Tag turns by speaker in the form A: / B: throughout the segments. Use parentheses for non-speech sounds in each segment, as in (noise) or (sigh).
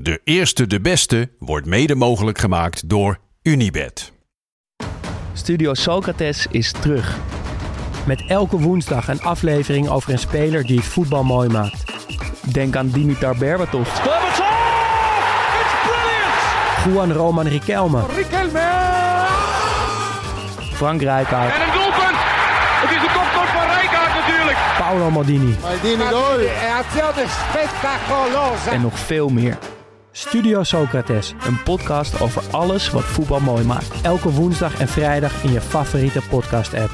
A: De eerste de beste wordt mede mogelijk gemaakt door Unibed.
B: Studio Socrates is terug. Met elke woensdag een aflevering over een speler die het voetbal mooi maakt. Denk aan Dimitar Berbatov. Juan Roman Riquelme. Frank Rijkaard.
C: En een doelpunt! Het is de kopstoot van Rijkaard natuurlijk.
B: Paolo Maldini.
D: Spettacolosa.
B: En nog veel meer. Studio Socrates, een podcast over alles wat voetbal mooi maakt. Elke woensdag en vrijdag in je favoriete podcast-app.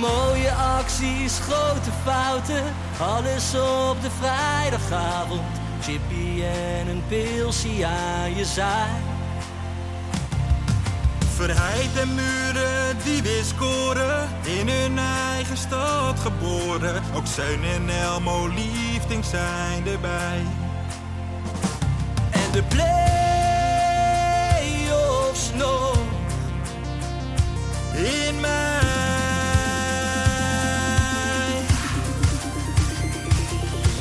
E: Mooie acties, grote fouten, alles op de vrijdagavond. Chippy en een pilsie aan je zaai. Verheid en muren die weer scoren, in hun eigen stad geboren. Ook Zijn en Elmo liefding zijn erbij. En de play-offs nog in mij.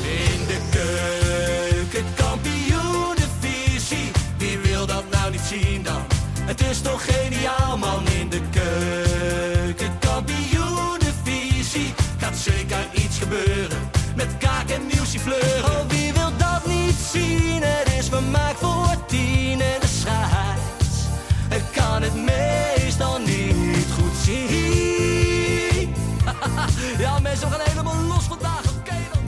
E: In de keuken, kampioen de visie. Wie wil dat nou niet zien dan? Het is toch geniaal man in de keuken, kampioen de visie. Gaat zeker iets gebeuren met kaak en nieuwsje fleuren. Oh, wie wil dat niet zien? Het is vermaakt voor tien en de scheids. Ik kan het meestal niet goed zien. Ja, mensen, we gaan helemaal los vandaag. Oké dan.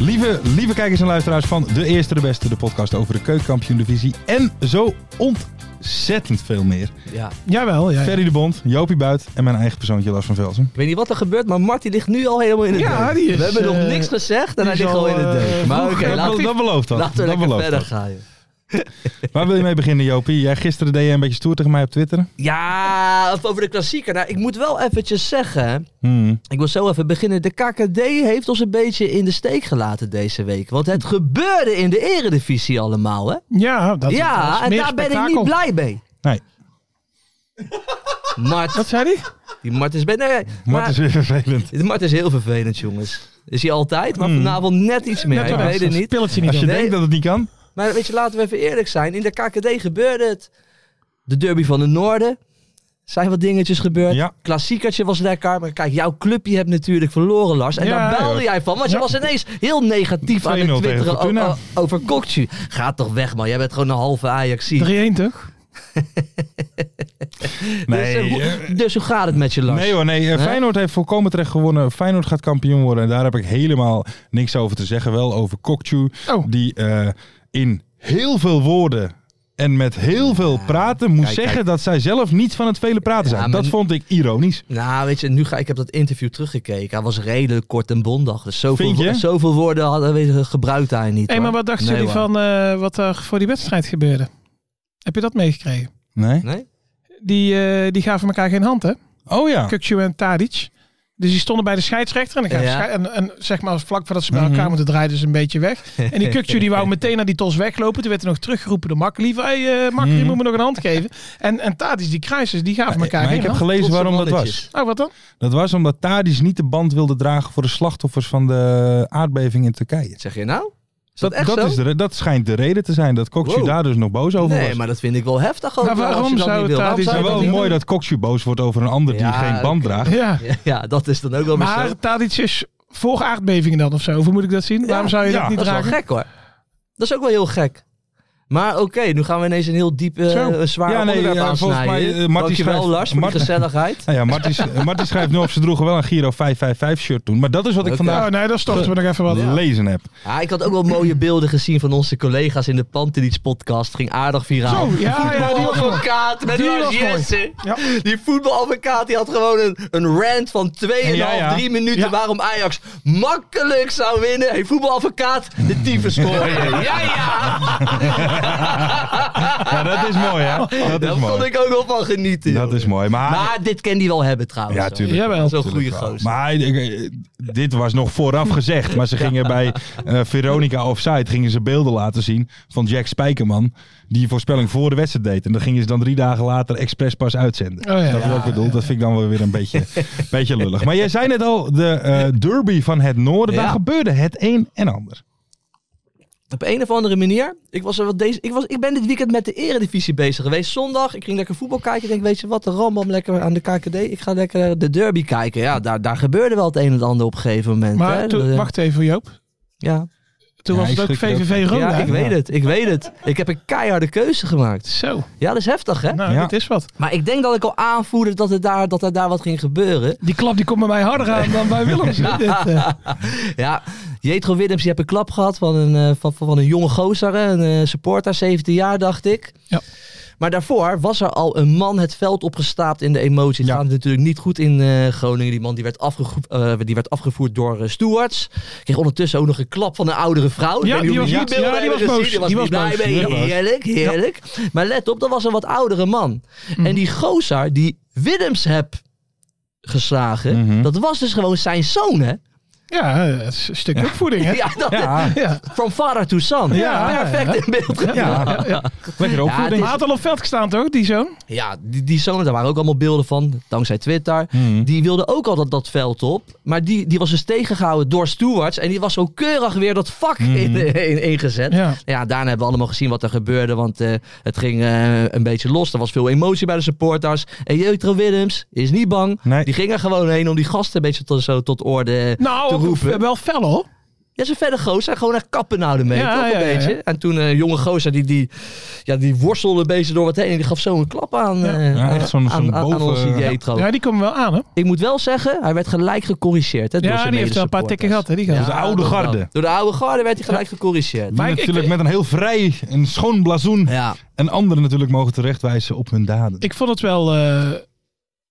F: Lieve, lieve kijkers en luisteraars van De Eerste de Beste, de podcast over de keukenkampioen-divisie en zo ontzettend veel meer.
G: Ja.
F: Jawel, ja. Ferry de Bond, Jopie Buit en mijn eigen persoontje Lars van Velsen.
G: Ik weet niet wat er gebeurt, maar Marty ligt nu al helemaal in het
F: Ja,
G: deuk.
F: die is,
G: We hebben
F: eh,
G: nog niks gezegd
F: die
G: en hij
F: is
G: ligt
F: al,
G: al in het
F: eh,
G: deuk. Maar oké,
D: (laughs)
F: dat-
G: laten we,
F: dat belooft dat.
G: laten we
F: Dat
G: lekker
F: belooft
G: verder
F: dat.
G: gaan. joh.
F: Waar wil je mee beginnen, Jopie? Jij gisteren deed je een beetje stoer tegen mij op Twitter.
G: Ja, of over de klassieker. Nou, ik moet wel eventjes zeggen,
F: Hmm.
G: ik wil zo even beginnen. De KKD heeft ons een beetje in de steek gelaten deze week. Want het gebeurde in de eredivisie allemaal, hè?
D: Ja, dat dat
G: ja, en
D: meer
G: daar ben ik niet
D: spektakel.
G: blij mee.
F: Nee,
G: Mart,
D: Wat zei hij?
G: die Mart is... bij- Nee,
F: maar het is
G: maar,
F: weer vervelend.
G: de Mart is heel vervelend, jongens. Is hij altijd,
F: Hmm.
G: maar vanavond net iets meer. ik weet het niet.
D: Pilletje niet
F: Als je
D: doen.
G: Nee.
F: denkt dat het niet kan.
G: Maar weet je, laten we even eerlijk zijn. In de KKD gebeurde het. De derby van de Noorden. Zijn wat dingetjes gebeurd.
F: Ja.
G: Klassiekertje was lekker. Maar kijk, jouw clubje hebt natuurlijk verloren, Lars. En
D: Ja,
G: daar belde
F: ja.
G: jij van. Want je
D: Ja.
G: was ineens heel negatief aan het
F: 2-0 tegen
G: twitteren oh, o-
F: Fortuna.
G: o- over Kokcu. Ga toch weg, man. Jij bent gewoon een halve ajax
D: 3-1
G: (laughs)
D: toch?
F: Nee,
G: dus, eh, hoe-
F: eh,
G: dus hoe gaat het met je, Lars?
F: Nee hoor, nee. eh,
G: Hè?
F: Feyenoord heeft volkomen terecht gewonnen. Feyenoord gaat kampioen worden. En daar heb ik helemaal niks over te zeggen. Wel over Kokchu.
D: Oh.
F: Die eh, in heel veel woorden en met heel veel praten moest
G: Kijk,
F: zeggen
G: kijk.
F: dat zij zelf niet van het vele praten
G: Ja,
F: zijn.
G: maar
F: Dat
G: nu-
F: vond ik ironisch.
G: Nou, weet je, nu ga ik heb dat interview teruggekeken. Hij was redelijk kort en bondig. Dus zoveel,
F: Vind je?
G: wo- zoveel woorden hadden we eh, gebruikt hij niet.
D: Hé, maar
G: hoor.
D: wat dachten
G: Nee,
D: jullie
G: hoor.
D: van eh, wat er voor die wedstrijd gebeurde? Heb je dat meegekregen?
F: Nee?
G: Nee?
D: Die, eh, die gaven elkaar geen hand, hè?
F: Oh ja.
D: Kukcu en Tadic. Dus die stonden bij de scheidsrechter. En, dan gaan
G: Ja.
D: schei- en, en zeg maar vlak voordat ze bij
F: Mhm.
D: elkaar moeten draaien, dus een beetje
F: (laughs)
D: weg. En die Kukcu die wou meteen naar die tos weglopen. Toen werd er nog teruggeroepen door Mak. Liever, hé hey, eh, Mak, je moet me nog een hand geven. En, en Tadic, die kruisers, die gaven elkaar
F: Mhm. Maar
D: geen
F: ik heb
D: hand.
F: gelezen
G: Trotse
F: waarom dat
G: mannetjes.
F: was.
D: Oh, wat dan?
F: Dat was omdat Tadis niet de band wilde dragen voor de slachtoffers van de Eh, aardbeving in Turkije.
G: Zeg je nou? Is dat, echt zo?
F: is de, re- dat schijnt de reden te zijn dat Kokchu
G: Wow.
F: daar dus nog boos over
G: nee,
F: was.
G: maar dat vind ik wel heftig ook.
D: Maar
G: wel, als
D: waarom
G: je dat
D: zou
G: niet
D: het
G: wil.
D: daar
G: Waarom
D: die-
F: het
G: zou
F: is
G: je
F: wel
G: dat niet
F: mooi dat Kokchu boos wordt over een ander die
G: Ja,
F: geen band
G: oké.
F: draagt.
D: Ja.
G: doen? Ja, dat is dan ook wel weer zo.
D: Maar Tadic is voor aardbevingen dan of zo. Hoe moet ik dat zien? Waarom zou je
F: ja,
D: dat niet
G: Dat is wel
D: dragen?
G: gek hoor. Dat is ook wel heel gek. Maar oké, nu gaan we ineens een heel diep, eh,
F: Zo.
G: zwaar
F: Ja, nee,
G: onderwerp
F: ja, volgens
G: aansnijden.
F: mij, eh, Marty
G: Dankjewel
F: schrijft-
G: Lars voor de
F: Marty-
G: gezelligheid.
F: Nou ja,
G: (laughs)
F: Marty, sch- Marty schrijft nu op, ze droegen wel een Giro 555 shirt toen. Maar dat is wat ik
G: Oké.
F: vandaag
D: Oh nee, daar storten we nog even wat.
F: gelezen heb.
G: Ja, ik had ook wel mooie beelden gezien van onze collega's in de Pantelits podcast. Ging aardig viraal.
D: Zo, ja, ja, die was mooi.
G: Voetbaladvocaat met
D: Die
G: Lars
D: was mooi.
G: Jensen.
D: Ja.
G: Die voetbaladvocaat die had gewoon een, een rant van 2,5,
F: Ja, ja.
G: 3 minuten
D: Ja.
G: waarom Ajax makkelijk zou winnen. Hey, voetbaladvocaat, de tyfus scoren. ja, ja.
F: Ja, dat is mooi, hè? Dat
G: Daar
F: is
G: kon
F: mooi.
G: ik ook wel van genieten.
F: Dat
G: joh.
F: is mooi. Maar,
G: Maar dit kan die wel hebben trouwens.
F: ja,
G: hoor.
F: tuurlijk.
D: Jawel.
G: Dat is wel een goede gozer.
F: Maar eh, dit was nog vooraf gezegd.
G: (laughs)
F: Maar ze gingen bij eh, Veronica Offside gingen ze beelden laten zien van Jack Spijkerman. Die een voorspelling voor de wedstrijd deed. En dat gingen ze dan drie dagen later expres pas uitzenden.
D: Oh, ja.
F: Snap je wat ik bedoel? Dat vind ik dan wel weer een
G: (laughs)
F: beetje, beetje lullig. Maar jij zei net al, de eh, derby van het noorden.
G: Ja.
F: Daar gebeurde het een en ander.
G: Op een of andere manier. Ik, was er wat deze, ik, was, ik ben dit weekend met de eredivisie bezig geweest. Zondag, ik ging lekker voetbal kijken. Ik denk, weet je wat, de rambam lekker aan de KKD. Ik ga lekker eh, de derby kijken. Ja, daar, daar gebeurde wel het een en het ander op een gegeven moment. hè.
D: Maar toen,
G: De-
D: wacht even Joop.
G: Ja,
D: Toen
F: Ja,
D: was
F: ik
D: het ook
F: schrik er ook
D: VVV
G: ja
D: Roda.
G: ik
D: hè?
G: weet het. Ik weet het. Ik heb een keiharde keuze gemaakt.
D: Zo,
G: Ja, dat is heftig, hè?
D: nou,
F: Ja.
D: dat is wat.
G: Maar ik denk dat ik al aanvoerde dat er daar, dat er daar wat ging gebeuren.
D: Die klap die komt bij mij harder aan dan
F: (laughs)
D: bij Willems. hè, dit, eh.
G: Ja, Jetro Willems die heb een klap gehad van een, eh, van, van van een jonge gozer. hè, Een eh, supporter, 17 jaar dacht ik.
D: Ja.
G: Maar daarvoor was er al een man het veld opgestaapt in de emotie. Het
F: Ja.
G: gaat natuurlijk niet goed in eh, Groningen. Die man die werd, afgegroe- eh, die werd afgevoerd door eh, stewards. Kreeg ondertussen ook nog een klap van een oudere vrouw. Ik
D: Ja,
G: weet niet
D: die
G: of
D: was
G: jullie
D: niet-
G: beelden
D: ja, die
G: hebben
D: was
G: gezien.
D: boos.
G: Die was
D: Die
G: niet
D: was
G: blij
D: boos. Die was
G: mee.
D: boos.
G: Heerlijk, heerlijk. Maar let op, dat was een wat oudere man.
D: Mhm.
G: En die gozer die Willems heb geslagen,
F: Mhm.
G: dat was dus gewoon zijn zoon, hè?
D: Ja, eh, het is een stuk opvoeding, hè?
G: Ja, dat,
F: Ja,
D: Ja.
G: From father to son.
D: Ja,
G: perfect in beeld. Ja,
F: ja. lekker
G: het
F: opvoeding.
D: Maar had al op veld gestaan, toch, die zoon?
G: die, die zonen, daar waren ook allemaal beelden van, dankzij Twitter.
F: Mhm.
G: Die wilde ook al dat, dat veld op. Maar die, die was dus tegengehouden door stewards. En die was zo keurig weer dat vak in, (laughs) in, ingezet.
D: Mhm. Ja.
G: Ja, daarna hebben we allemaal gezien wat er gebeurde. Want eh, het ging eh, een beetje los. Er was veel emotie bij de supporters. En Jeutro Willems is niet bang.
F: Nee.
G: Die ging er gewoon heen om die gasten een beetje tot, zo tot orde te
D: Nou,
G: roepen.
D: wel fel, hoor.
G: Ja, ze verder gozer. Gewoon echt kappen nou ermee.
D: Ja,
G: toch? Een
D: ja, ja,
G: beetje.
D: ja.
G: En toen een jonge gozer, die, die, ja, die worstelde een beetje door wat heen. En die gaf zo een klap aan,
D: Ja.
G: eh,
F: Ja,
G: aan,
F: echt zo'n-
G: aan,
F: zo'n
G: aan
F: boven-
G: onze Jetro.
D: Ja, die komen wel aan, hè?
G: Ik moet wel zeggen, hij werd gelijk gecorrigeerd. Hè, door
D: Ja,
G: zijn
D: die heeft wel een paar tikken
G: medesupporters.
D: gehad, hè? Die gast.
F: de oude
G: dat wel.
F: garde.
G: Door de oude garde werd hij gelijk gecorrigeerd.
F: Die
D: Maar ik-
F: natuurlijk
D: ik-
F: met een heel vrij en schoon blazoen.
G: Ja,
F: En anderen natuurlijk mogen terechtwijzen op hun daden.
D: Ik vond het wel... eh,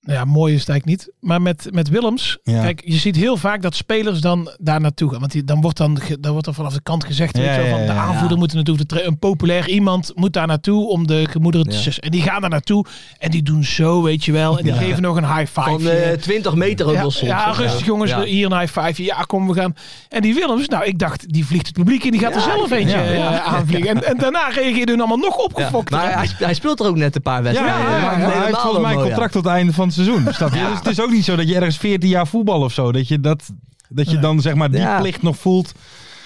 D: nou ja, mooi is het eigenlijk niet. Maar met, met Willems...
F: Ja.
D: Kijk, je ziet heel vaak dat spelers dan daar naartoe gaan. Want die, dan, wordt dan, ge- dan wordt er vanaf de kant gezegd... weet
F: Ja,
D: je wel,
F: ja,
D: van, de
F: ja,
D: aanvoerder
G: ja.
D: moet er naartoe. De tra- een populair iemand moet daar naartoe om de gemoederen te
G: Ja.
D: sussen. En die gaan daar naartoe. En die doen zo, weet je wel. En die geven nog een high five.
G: van eh 20 meter ook
D: Ja,
G: wel soms.
D: ja,
G: hè.
D: rustig jongens,
G: eh, Ja.
D: hier een high five. Ja, kom, we gaan. En die Willems, nou, ik dacht, die vliegt het publiek in. Die gaat
G: Ja,
D: er zelf eentje
F: ja.
D: eh, aanvliegen. En, en daarna reageerden hun allemaal nog
G: Ja.
D: opgefokt.
G: Maar hij, hij speelt er ook net een paar wedstrijden.
F: Ja,
G: Maakt het
F: maar hij heeft
G: helemaal
F: volgens mij een
G: wel mooi,
F: contract tot het einde van het seizoen. Snap je? Dus het is ook niet zo dat je ergens 14 jaar voetbal of zo. Dat je, dat, dat je dan zeg maar die
G: Ja.
F: plicht nog voelt.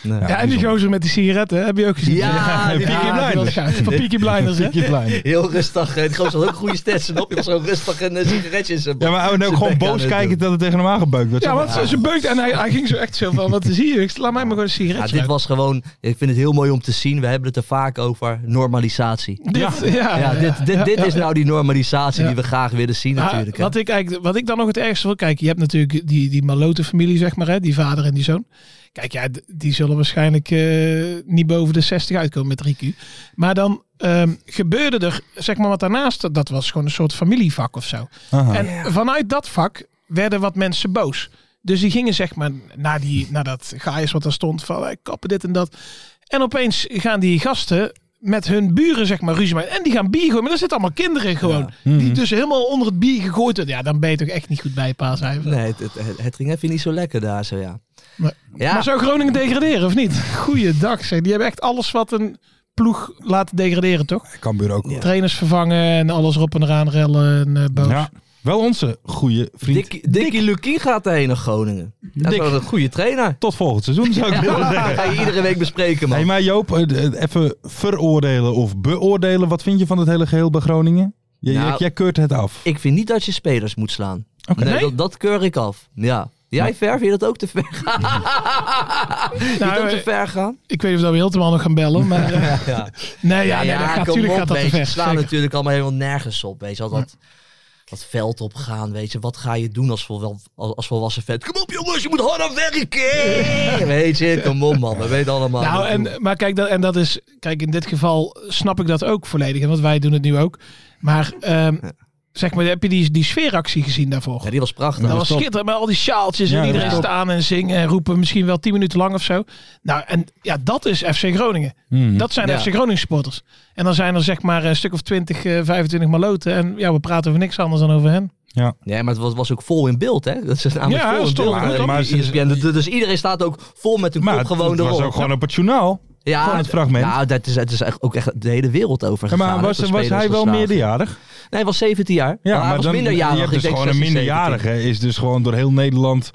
G: Nee.
D: ja, en die
F: bijzonder.
D: gozer met die sigaretten, heb je ook gezien.
G: Ja,
D: Peaky
G: die Peaky
D: Blinders.
F: Blinders.
D: Ja, Van Peaky Blinders,
F: (laughs)
G: (laughs)
D: hè?
F: Pietje Klein.
G: Heel rustig. eh, Die gozer had ook goede stetsen op. Die was zo rustig en een sigaretje in zijn
F: Ja, maar en ook
G: zijn
F: gewoon
G: bek aan
F: boos
G: het
F: kijken
G: doen.
F: dat het tegen hem aangebeukt werd.
D: Ja,
F: Zo
D: want ze, ze beukt en hij, hij ging zo echt zo van, wat zie je? Ik- Laat mij maar gewoon een
G: Ja,
D: sigaretje
G: dit was gewoon, ik vind het heel mooi om te zien. We hebben het er vaak over normalisatie.
D: dit, ja,
G: Ja, dit, dit, dit is nou die normalisatie
D: Ja.
G: die we graag willen zien
D: Maar
G: natuurlijk. hè.
D: Wat ik, eigenlijk, wat ik dan nog het ergste wil kijken. Je hebt natuurlijk die, die Malote-familie, zeg maar, hè, die vader en die zoon. Kijk, ja, d- die zullen waarschijnlijk eh, niet boven de 60 uitkomen met Riku. Maar dan ehm, gebeurde er, zeg maar, wat daarnaast, dat was gewoon een soort familievak of zo.
F: Aha.
D: En vanuit dat vak werden wat mensen boos. Dus die gingen, zeg maar, naar, die, naar dat gaaiers wat daar stond, van wij kappen dit en dat. En opeens gaan die gasten met hun buren, zeg maar, ruzie maken. En die gaan bier gooien. Maar er zitten allemaal kinderen gewoon.
G: Mhm.
D: Die dus helemaal onder het bier gegooid worden. Ja, dan ben je toch echt niet goed bij paashuiven.
G: Nee, het, het- het, het ging even niet zo lekker daar zo, ja.
D: Maar-
G: ja,
D: Maar zou Groningen degraderen of niet? Goeiedag zeg. Die hebben echt alles wat een ploeg laat degraderen, toch?
F: Cambuur ook. wel.
D: Trainers vervangen en alles erop en eraan rellen en eh, boos.
F: Ja, wel onze goede vriend.
G: Dickie, Dickie Lukien gaat daarheen naar Groningen. Dat is
F: Dick.
G: wel een goede trainer.
F: Tot volgend seizoen zou ik willen
G: Dat
F: zeggen.
G: ga je iedere week bespreken, man.
F: Hey, maar Joop, eh, eh, even veroordelen of beoordelen. Wat vind je van het hele geheel bij Groningen? Jij,
G: Nou,
F: jij, jij keurt het af.
G: Ik vind niet dat je spelers moet slaan.
F: Oké.
G: Nee, dat, dat keur ik af. Ja. Jij ver? Vind je dat ook te ver gaan? Vind je
D: Nou,
G: dat te
D: eh,
G: ver gaan?
D: Ik weet niet of dat we helemaal nog gaan bellen.
G: (laughs)
D: Maar, eh,
G: Ja.
D: nee, ja, nee, dat gaat,
G: kom
D: natuurlijk
G: op,
D: gaat dat te
G: weet je.
D: ver.
G: Het slaat
D: zeker.
G: natuurlijk allemaal helemaal nergens op. Weet je. Al dat, dat veld opgaan, weet je. Wat ga je doen als, volwa- als, als volwassen vet? Kom op jongens, je moet hard aan werken! weet je, kom op man. We weten allemaal.
D: Nou, en, maar kijk, dat, en dat is, kijk, in dit geval snap ik dat ook volledig. hè, Want wij doen het nu ook. Maar ehm, zeg maar, heb je die, die sfeeractie gezien daarvoor?
G: Ja, die was prachtig.
D: dat was schitterend met al die sjaaltjes
F: Ja,
D: en
F: dat
D: iedereen
F: was top.
D: staan en zingen en roepen. Misschien wel tien minuten lang of zo. Nou, en ja, dat is FC Groningen.
F: Hmm. Mhm.
D: Dat zijn
G: Ja.
D: FC Groningen supporters. En dan zijn er zeg maar een stuk of 20, eh, 25 maloten. En ja, we praten over niks anders dan over hen.
G: Nee, maar het was, was ook vol in beeld, hè? Dat is namelijk
D: Ja,
G: vol in
D: stond
G: beeld.
D: goed
F: op.
G: Maar
F: Maar ze-
G: ESPN. Dus- dus iedereen staat ook vol met hun
F: Maar
G: kop
F: het,
G: gewoon
F: het was
G: erop.
F: ook gewoon op het journaal.
G: ja,
F: gewoon het fragment.
G: Nou, dat is, het is echt ook echt de hele wereld over
F: Ja,
G: gegaan.
F: maar
G: hè,
F: was,
G: van
F: was
G: spelers
F: hij wel
G: verslagen.
F: meerderjarig?
G: Nee, hij was 17 jaar.
F: Ja,
G: hij
F: maar
G: was
F: dan,
G: minderjarig.
F: je hebt
G: ik
F: dus
G: denk
F: gewoon een
G: 16, 17.
F: minderjarige is dus gewoon door heel Nederland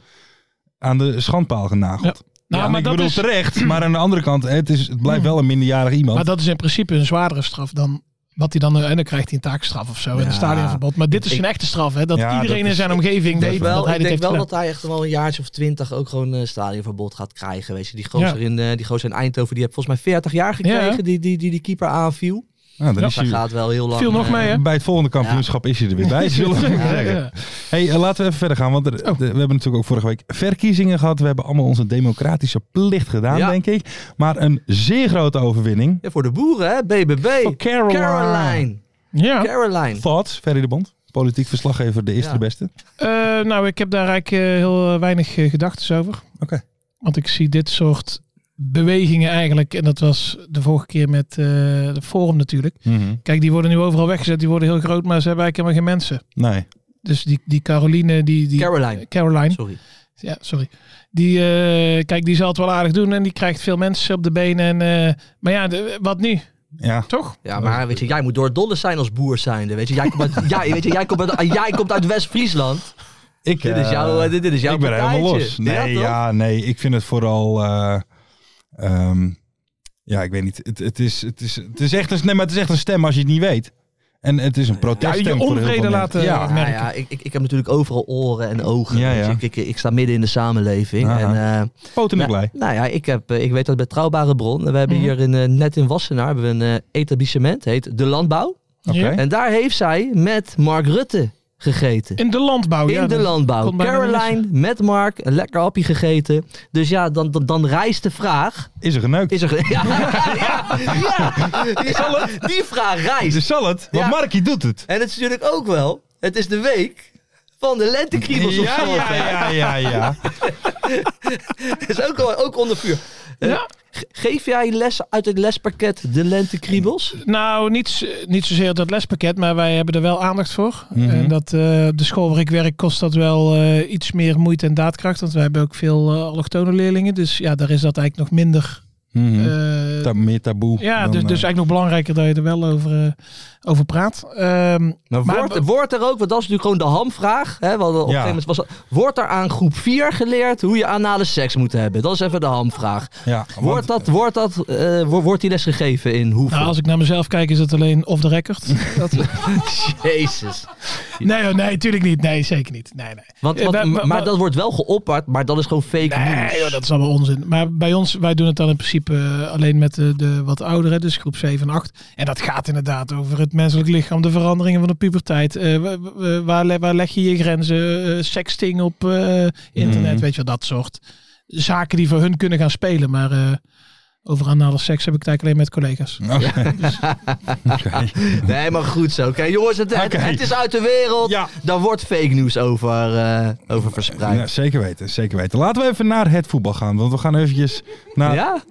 F: aan de schandpaal genageld.
D: Nou,
F: En
D: maar,
F: ik
D: dat
F: bedoel
D: is, (clears throat) Mm.
F: terecht, maar aan de andere kant, het, is, het blijft wel een minderjarig iemand.
D: maar dat is in principe een zwaardere straf dan wat hij dan... eh, En dan krijgt hij een taakstraf of zo en een stadionverbod. Maar dit is
G: Ik-
D: een echte straf, hè? Dat
F: Ja, dat
D: iedereen in
F: is-
D: zijn omgeving
G: Ik
D: weet
G: denk wel,
D: dat hij
G: ik
D: dit heeft
G: denk wel
D: gedaan.
G: dat hij echt wel een jaartje of 20 ook gewoon een stadionverbod gaat krijgen. Weet je. Die, gozer
D: Ja.
G: in, eh, die gozer in Eindhoven, die heeft volgens mij 40 jaar gekregen,
D: Ja.
G: die, die, die die keeper aanviel.
F: Nou, dan
D: Ja,
F: is
G: Hij
F: hij-
G: gaat wel heel lang...
D: Viel nog
G: eh,
D: mee, hè?
F: bij het volgende kampioenschap is hij er weer
G: (laughs)
F: bij, zullen we maar zeggen.
D: Ja.
F: Hey, eh, laten we even verder gaan, want er-
D: Oh.
F: de- we hebben natuurlijk ook vorige week verkiezingen gehad. We hebben allemaal onze democratische plicht gedaan,
G: Ja.
F: denk ik. Maar een zeer grote overwinning.
G: Ja, voor de boeren, hè? BBB.
F: Voor Caroline.
G: Caroline.
D: Ja.
G: Caroline.
F: Thoughts, Ferry de Bond, politiek verslaggever, de eerste
G: Ja.
F: de beste.
D: Eh, nou, ik heb daar eigenlijk eh, heel eh, weinig eh, gedachten over.
F: Oké.
D: Want ik zie dit soort bewegingen eigenlijk, en dat was de vorige keer met eh, de Forum natuurlijk.
G: Mhm.
D: Kijk, die worden nu overal weggezet, die worden heel groot, maar ze hebben eigenlijk helemaal geen mensen.
F: Nee.
D: Dus die, die Caroline, die, die
G: Caroline.
D: Caroline,
G: Sorry.
D: ja, sorry. Die, eh, kijk, die zal het wel aardig doen en die krijgt veel mensen op de benen. En, eh, maar ja, de- wat nu,
F: Ja.
D: toch?
G: Ja, maar weet je, jij moet door dolle zijn als boer zijnde. Weet je, jij komt uit, jij, weet je, jij komt uit, eh, jij komt uit West-Friesland.
F: Ik,
G: Dit is
F: eh,
G: jouw, eh, dit, dit is jouw
F: ik ben
G: partijtje.
F: helemaal los.
G: Ja,
F: Nee,
G: toch?
F: ja, nee, ik vind het vooral. eh, ehm, ja, ik weet niet. Het, het, is, het, is, het, is echt een, nee, maar het is echt een stem als je het niet weet. En het is een proteststem.
D: je
F: voor heel veel
D: onvrede
F: mensen.
D: laten-
F: Ja,
G: Ja,
D: merken.
G: ja, ik, ik, ik heb natuurlijk overal oren en ogen.
F: Ja,
G: weet je.
F: ja.
G: Ik, ik, ik sta midden in de samenleving.
F: Aha.
G: En, eh,
F: poten
G: nou,
F: blij.
G: nou ja, ik, heb, eh, ik weet dat bij Trouwbare Bron. We hebben hier in, eh, net in Wassenaar hebben we een eh, etablissement. heet De Landbouw.
F: Oké.
D: Ja.
G: En daar heeft zij met Mark Rutte gegeten.
D: In de landbouw. Oh, ja,
G: in de
D: dat
G: landbouw.
D: kon bijna niet
G: Caroline met Mark, een lekker hapje gegeten. Dus ja, dan, dan, dan rijst de vraag.
F: Is er geneukt?
G: Is er. (laughs) ge- Ja, ja, ja, ja. die vraag rijst.
F: Dus zal het? Want
G: Ja.
F: Markie doet het.
G: En het is natuurlijk ook wel. Het is de week van de lentekriebels op
F: Ja,
G: zondag.
F: ja, ja, ja, ja.
G: Dat (laughs) is ook, wel- ook onder vuur. Eh,
D: Ja.
G: ge- Geef jij les uit het lespakket de lentekriebels?
D: Nou, niet, z- niet zozeer dat lespakket, maar wij hebben er wel aandacht voor.
F: Mhm.
D: En dat eh, op de school waar ik werk kost dat wel eh, iets meer moeite en daadkracht. Want wij hebben ook veel eh, allochtone leerlingen. Dus ja, daar is dat eigenlijk nog minder.
F: Mhm.
D: eh,
F: Ta- meer taboe.
D: ja,
F: dan,
D: dus, dus
F: eh,
D: eigenlijk nog belangrijker dat je er wel over, eh, over praat. Ehm,
G: Maar
D: Maar-
G: Nou, wordt, wordt er ook, want dat is natuurlijk gewoon de hamvraag. Hè, want op een gegeven moment was dat- wordt er aan groep 4 geleerd hoe je anale seks moet hebben? Dat is even de hamvraag.
F: ja,
G: Wordt,
F: (laughs)
G: dat, wordt, dat, eh, wo- wordt die les gegeven in hoeveel?
D: nou, als ik naar mezelf kijk, is het alleen off the record.
G: (laughs) Jezus.
D: nee, hoor, nee, tuurlijk niet. Nee, zeker niet. Nee, nee.
G: Want,
D: Eh,
G: want-
D: wa- wa-
G: maar
D: wa-
G: dat wordt wel geopperd, maar dat is gewoon fake news.
D: Nee, joh, dat is allemaal onzin. Maar bij ons, wij doen het dan in principe eh, alleen met de, de wat ouderen, dus groep 7 en 8. En dat gaat inderdaad over het menselijk lichaam, de veranderingen van de puberteit. eh, wa- wa- waar, le- waar leg je je grenzen? eh, sexting op eh, internet,
F: Mhm.
D: weet je wel, dat soort zaken die voor hun kunnen gaan spelen. Maar eh, over anale seks heb ik het eigenlijk alleen met collega's.
G: Nee, maar goed zo. Oké, jongens, het, het-
F: Oké.
G: het is uit de
F: (laughs)
G: wereld.
F: Ja.
G: Daar wordt fake news over, eh, over verspreid.
F: Ja, zeker weten, zeker weten. Laten we even naar het voetbal gaan. Want we gaan eventjes naar... Ja,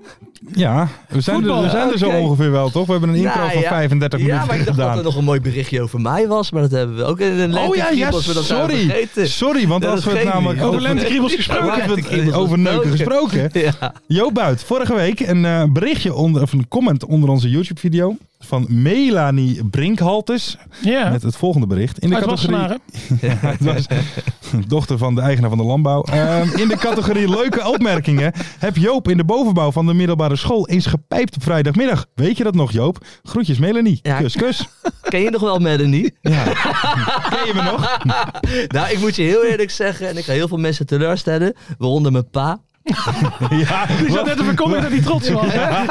G: Ja?
F: we zijn,
G: Voetbal,
F: er, we zijn er zo
G: oké.
F: ongeveer wel, toch? We hebben een intro
G: Nou,
F: van
G: ja.
F: 35
G: Ja,
F: minuten
G: maar ik dacht dat
F: gedaan.
G: er nog een mooi berichtje over mij was, maar dat hebben we ook in een
F: Oh ja, ja, sorry. Sorry, want
G: Ja,
F: als
G: dat
F: we het
G: geeft
F: namelijk
G: niet.
F: over
G: (laughs) Over lentekriebels gesproken.
F: Over,
G: Lentekriebels
F: eh, over neuken
G: gesproken.
F: gesproken.
G: (laughs) Ja.
F: Jo Buit, vorige week een eh, berichtje onder, of een comment onder onze YouTube-video. van Melanie Brinkhaltes.
D: Ja,
F: Met het volgende bericht. In de
D: uit
F: categorie
D: Wassenaar.
F: (laughs) Het was dochter van de eigenaar van de landbouw. Ehm, in de categorie leuke opmerkingen heb Joop in de bovenbouw van de middelbare school eens gepijpt op vrijdagmiddag. Weet je dat nog, Joop? Groetjes, Melanie.
G: Ja.
F: Kus,
D: (laughs)
F: kus.
G: Ken je nog wel Melanie?
F: (laughs) Ken je me nog?
G: (laughs) nou, ik moet je heel eerlijk zeggen, en ik ga heel veel mensen teleurstellen, waaronder mijn pa.
F: Ja,
D: Die zat
F: wat?
D: net te verkondigen dat hij trots was. hè?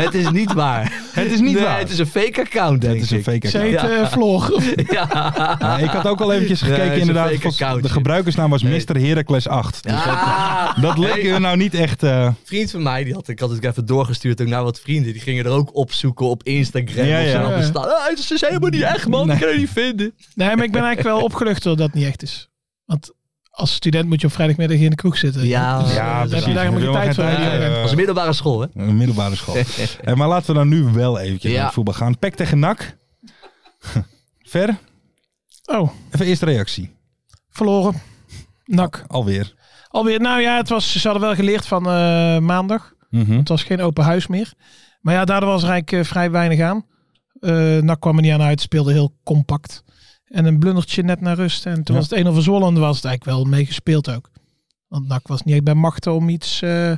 G: Het is niet waar.
F: (laughs) het is niet
G: nee,
F: waar.
G: het is een fake account, denk
F: Het is een
G: ik.
F: fake
D: Ze
F: account.
D: heet
G: (laughs) Ja.
D: eh, Floor.
G: Ja.
F: Ja, ik had ook al eventjes
G: Nee,
F: gekeken,
G: het is een
F: inderdaad.
G: fake
F: volgens- de
G: accountje.
F: gebruikersnaam was
G: Nee.
F: Mr. Heracles 8. Dus
G: Ja.
F: dat leek
G: Nee.
F: er nou niet echt... eh,
G: vriend van mij, die had, ik had het even doorgestuurd ook naar wat vrienden. Die gingen er ook opzoeken op Instagram
F: Ja,
G: of
F: ja.
G: zo. Op een sta- Ah, het is helemaal niet echt, man. Ik kan het niet vinden.
D: Nee, maar ik ben eigenlijk wel opgelucht dat dat niet echt is. Want als student moet je op vrijdagmiddag in de kroeg zitten. Dus-
G: Ja,
F: ja,
D: heb je
F: precies.
D: daar helemaal geen tijd voor,
F: tijd,
D: hè?
F: eh,
G: Dat was een middelbare school, hè?
F: Een middelbare
D: (laughs)
F: school. Eh, maar laten we dan nu wel eventjes
G: Ja.
F: naar het voetbal gaan. Pek tegen NAC. (laughs) Ver,
D: Oh,
F: even eerst reactie.
D: verloren. Nak.
F: Alweer.
D: Alweer, nou ja, het was, ze hadden wel geleerd van eh, maandag.
F: Mhm.
D: Het was geen open huis meer. Maar ja, daardoor was er eigenlijk eh, vrij weinig aan. Eh NAC kwam er niet aan uit, speelde heel compact. En een blundertje net naar rust. En toen
F: Ja.
D: was het een of Zwolle en was het eigenlijk wel meegespeeld ook. Want NAC was niet echt bij machten om iets eh, eh,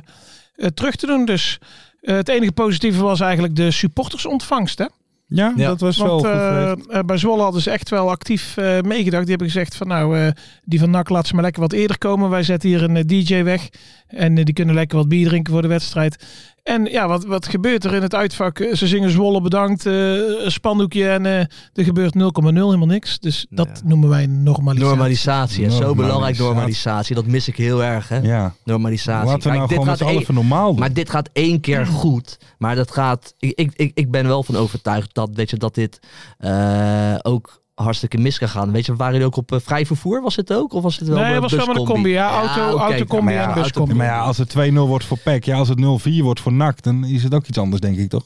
D: terug te doen. Dus eh, het enige positieve was eigenlijk de supportersontvangst. Hè?
F: Ja,
G: Ja.
F: dat was wel
D: Want
F: goed
D: eh,
F: geweest.
D: eh, bij Zwolle hadden ze echt wel actief eh, meegedacht. Die hebben gezegd van nou, eh, die van NAC laat ze maar lekker wat eerder komen. Wij zetten hier een eh, DJ weg. En eh, die kunnen lekker wat bier drinken voor de wedstrijd. En ja, wat, wat gebeurt er in het uitvak? Eh, Ze zingen Zwolle bedankt, eh, een spandoekje en eh, er gebeurt 0,0 helemaal niks. Dus dat
G: Ja.
D: noemen wij normalisatie.
G: Normalisatie, hè? Zo
F: Normalisatie.
G: belangrijk, normalisatie. Dat mis ik heel erg, hè?
F: Ja.
G: Normalisatie.
F: Laten we
G: Kijk,
F: nou
G: dit
F: gewoon met z'n
G: gaat
F: allen
G: één-
F: even normaal doen.
G: Maar dit gaat één keer goed. Maar dat gaat. Ik, ik, ik, ik ben wel van overtuigd dat, weet je, dat dit eh, ook hartstikke mis kan gaan. Weet je, waren jullie ook op eh, vrij vervoer? Was het ook? Of was het wel
D: Nee,
G: eh,
D: het was wel met een combi. Ja, auto,
G: oké.
D: autocombi
F: Ja, maar ja,
D: en buscombi.
F: Maar ja, als het 2-0 wordt voor Pek, ja, als het 0-4 wordt voor NAC, dan is het ook iets anders, denk ik, toch?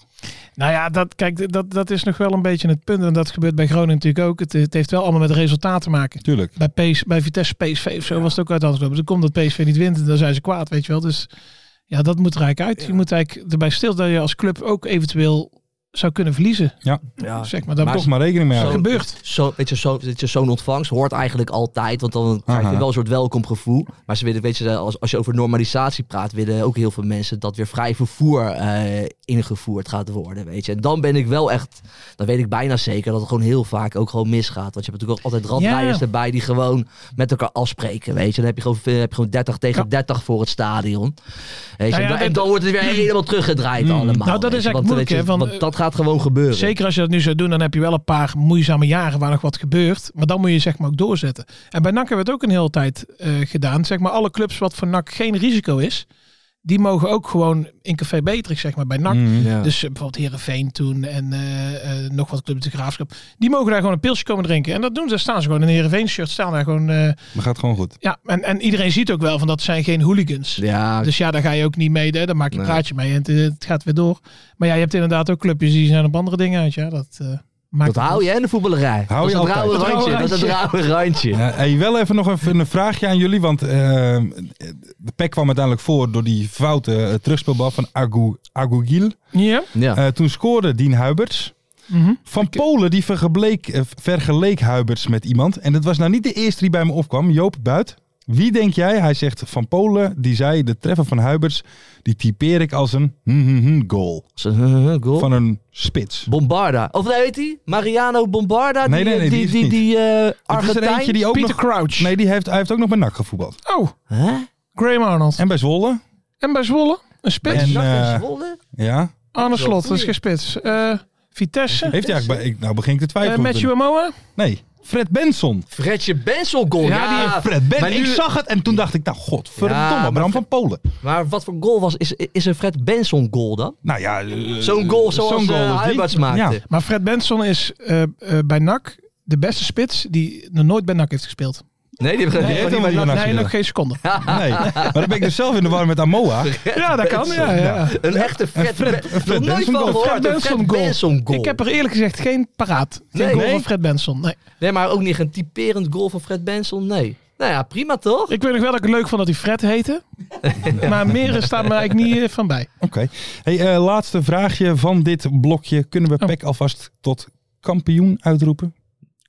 D: Nou ja, dat, kijk, dat, dat is nog wel een beetje het punt. En dat gebeurt bij Groningen natuurlijk ook. Het, het heeft wel allemaal met resultaat te maken.
F: Tuurlijk.
D: bij, PS, bij Vitesse PSV of zo was het ook uit de hand gelopen. Dan komt dat PSV niet wint en dan zijn ze kwaad, weet je wel. Dus ja, dat moet er eigenlijk uit. Je moet eigenlijk erbij stil dat je als club ook eventueel zou kunnen verliezen.
G: Ja.
D: Zeg maar, dat
G: Maar
D: toch
F: Toch maar rekening mee
G: Zo-
F: houden.
D: gebeurt.
G: Zo, weet je, zo, weet je, zo'n ontvangst hoort eigenlijk altijd, want dan krijg je
F: Aha.
G: wel een soort welkomgevoel. Maar ze willen, weet je, als, als je over normalisatie praat, willen ook heel veel mensen dat weer vrij vervoer eh, ingevoerd gaat worden, weet je. En dan ben ik wel echt, dan weet ik bijna zeker dat het gewoon heel vaak ook gewoon misgaat. Want je hebt natuurlijk ook altijd radrijders
D: Ja.
G: erbij die gewoon met elkaar afspreken, weet je. Dan heb je gewoon, eh, heb je gewoon 30 tegen 30 voor het stadion. Weet
D: Nou
G: je?
D: ja,
G: en, dan,
D: dat-
G: en dan
D: (clears throat)
G: wordt het weer helemaal teruggedraaid allemaal.
D: Nou, dat
G: weet
D: is
G: je.
D: eigenlijk
G: Want,
D: moeilijk,
G: weet je,
D: hè, want,
G: want
D: eh,
G: dat gaat gewoon gebeuren.
D: Zeker als je dat nu zou doen, dan heb je wel een paar moeizame jaren waar nog wat gebeurt. Maar dan moet je zeg maar ook doorzetten. En bij NAC hebben we het ook een hele tijd eh, gedaan. Zeg maar alle clubs wat voor NAC geen risico is, die mogen ook gewoon in Café Betrix zeg maar bij NAC
F: Mhm.
D: Dus eh, bijvoorbeeld Herenveen toen en eh, eh, nog wat clubs de graafschap. Die mogen daar gewoon een pilsje komen drinken. En dat doen ze. Daar Staan ze gewoon in een Herenveen shirt. Staan daar gewoon. eh,
F: Maar gaat gewoon goed.
D: ja, en, en iedereen ziet ook wel van dat zijn geen hooligans.
G: Ja,
D: Dus ja, daar ga je ook niet mee. Hè? Daar maak je een praatje mee. En het, het gaat weer door. Maar ja, je hebt inderdaad ook clubjes die zijn op andere dingen uit. Ja, dat eh, maakt.
G: Dat hou je, hè, in de voetballerij.
F: Hou je
G: dat is het
F: altijd.
G: rauwe
D: Dat
G: randje.
D: rauwe
G: Dat is het rauwe randje.
F: Eh, hey, wel even nog even een vraagje aan jullie, want eh, de Pek kwam uiteindelijk voor door die foute eh, terugspeelbal van Agu, Agugil.
D: Ja.
G: Ja.
F: Eh, toen scoorde Dien Huiberts.
D: Mhm.
F: Van Polen die vergeleek, eh, vergeleek Huiberts met iemand. En dat was nou niet de eerste die bij me opkwam. Joop Buit. Wie denk jij? Hij zegt Van Polen. Die zei de treffer van Huiberts. Die typeer ik als een hmm, hmm, hmm goal.
G: Zo, huh, huh, eh, Goal.
F: Van een spits.
G: Bombarda. Of nee, weet hij? Mariano Bombarda.
F: Nee,
G: die,
F: nee, nee,
G: die,
F: die is
G: die,
F: het niet.
G: die, eh,
F: Er is er
G: Argentijn.
F: eentje die ook
D: Peter
F: nog...
D: Crouch.
F: Nee, die heeft, hij heeft ook nog bij NAC gevoetbald.
D: Oh,
G: Hè?
D: Graham Arnold. En,
F: En bij Zwolle.
D: bij Zwolle? Een spits.
F: En,
G: Zak en
F: eh,
G: Zwolle?
F: Ja.
D: Arne Slot, dat is geen spits. Eh, Vitesse.
F: Heeft hij eigenlijk bij... Ik, nou begin ik te
D: Eh
F: twijfelen.
D: Matthew Amoa.
F: Nee. Fred Benson.
G: Fredje Bensel goal. Oh, Ja,
D: Ja, die heeft
F: Fred Benson.
G: maar
F: Ik
G: nu-
F: zag het en toen dacht ik, nou godverdomme,
G: Ja, maar
F: Bram
G: Fred-
F: van Polen.
G: Maar wat voor goal was, is, is een Fred Benson goal dan?
F: Nou ja, eh,
G: Zo'n goal zoals
F: zo'n
G: eh,
F: goal als die.
G: Huiberts maakte.
F: Ja.
D: Maar Fred Benson is eh, eh, bij NAC de beste spits die nog nooit bij NAC heeft gespeeld.
G: Nee, die hebben
F: Nee,
G: nee,
F: dat
G: niet
F: helemaal
G: bij
F: niet.
G: NAC.
F: NAC
D: nee,
F: gespeeld.
D: nog geen seconde.
F: Nee, maar dan ben ik dus zelf in de war met Amoa.
D: Ja, dat kan. Ja, ja.
G: Een echte Fred,
F: Fred-
G: Ben-
F: een Fred
G: Nog nooit
F: Benson
G: van
F: goal.
G: gehoord,
D: Fred
G: een
D: Benson goal.
G: Benson goal.
D: Ik heb er eerlijk gezegd geen paraat. Geen
G: Nee,
D: goal
G: nee.
D: van Fred Benson. Nee.
G: Nee, maar ook niet een typerend goal van Fred Benson. Nee. Nou ja, prima toch?
D: Ik weet nog wel dat ik het leuk vond dat hij Fred
G: (laughs)
D: heette. Maar meer staat me eigenlijk niet eh, van bij.
F: Oké. Hey, eh, laatste vraagje van dit blokje. Kunnen we
D: Oh.
F: PEC alvast tot kampioen uitroepen?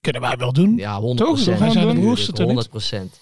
D: Kunnen wij wel doen.
G: Ja, 100%.
D: Toch? Wij zijn de broers, toch niet?
G: 100%.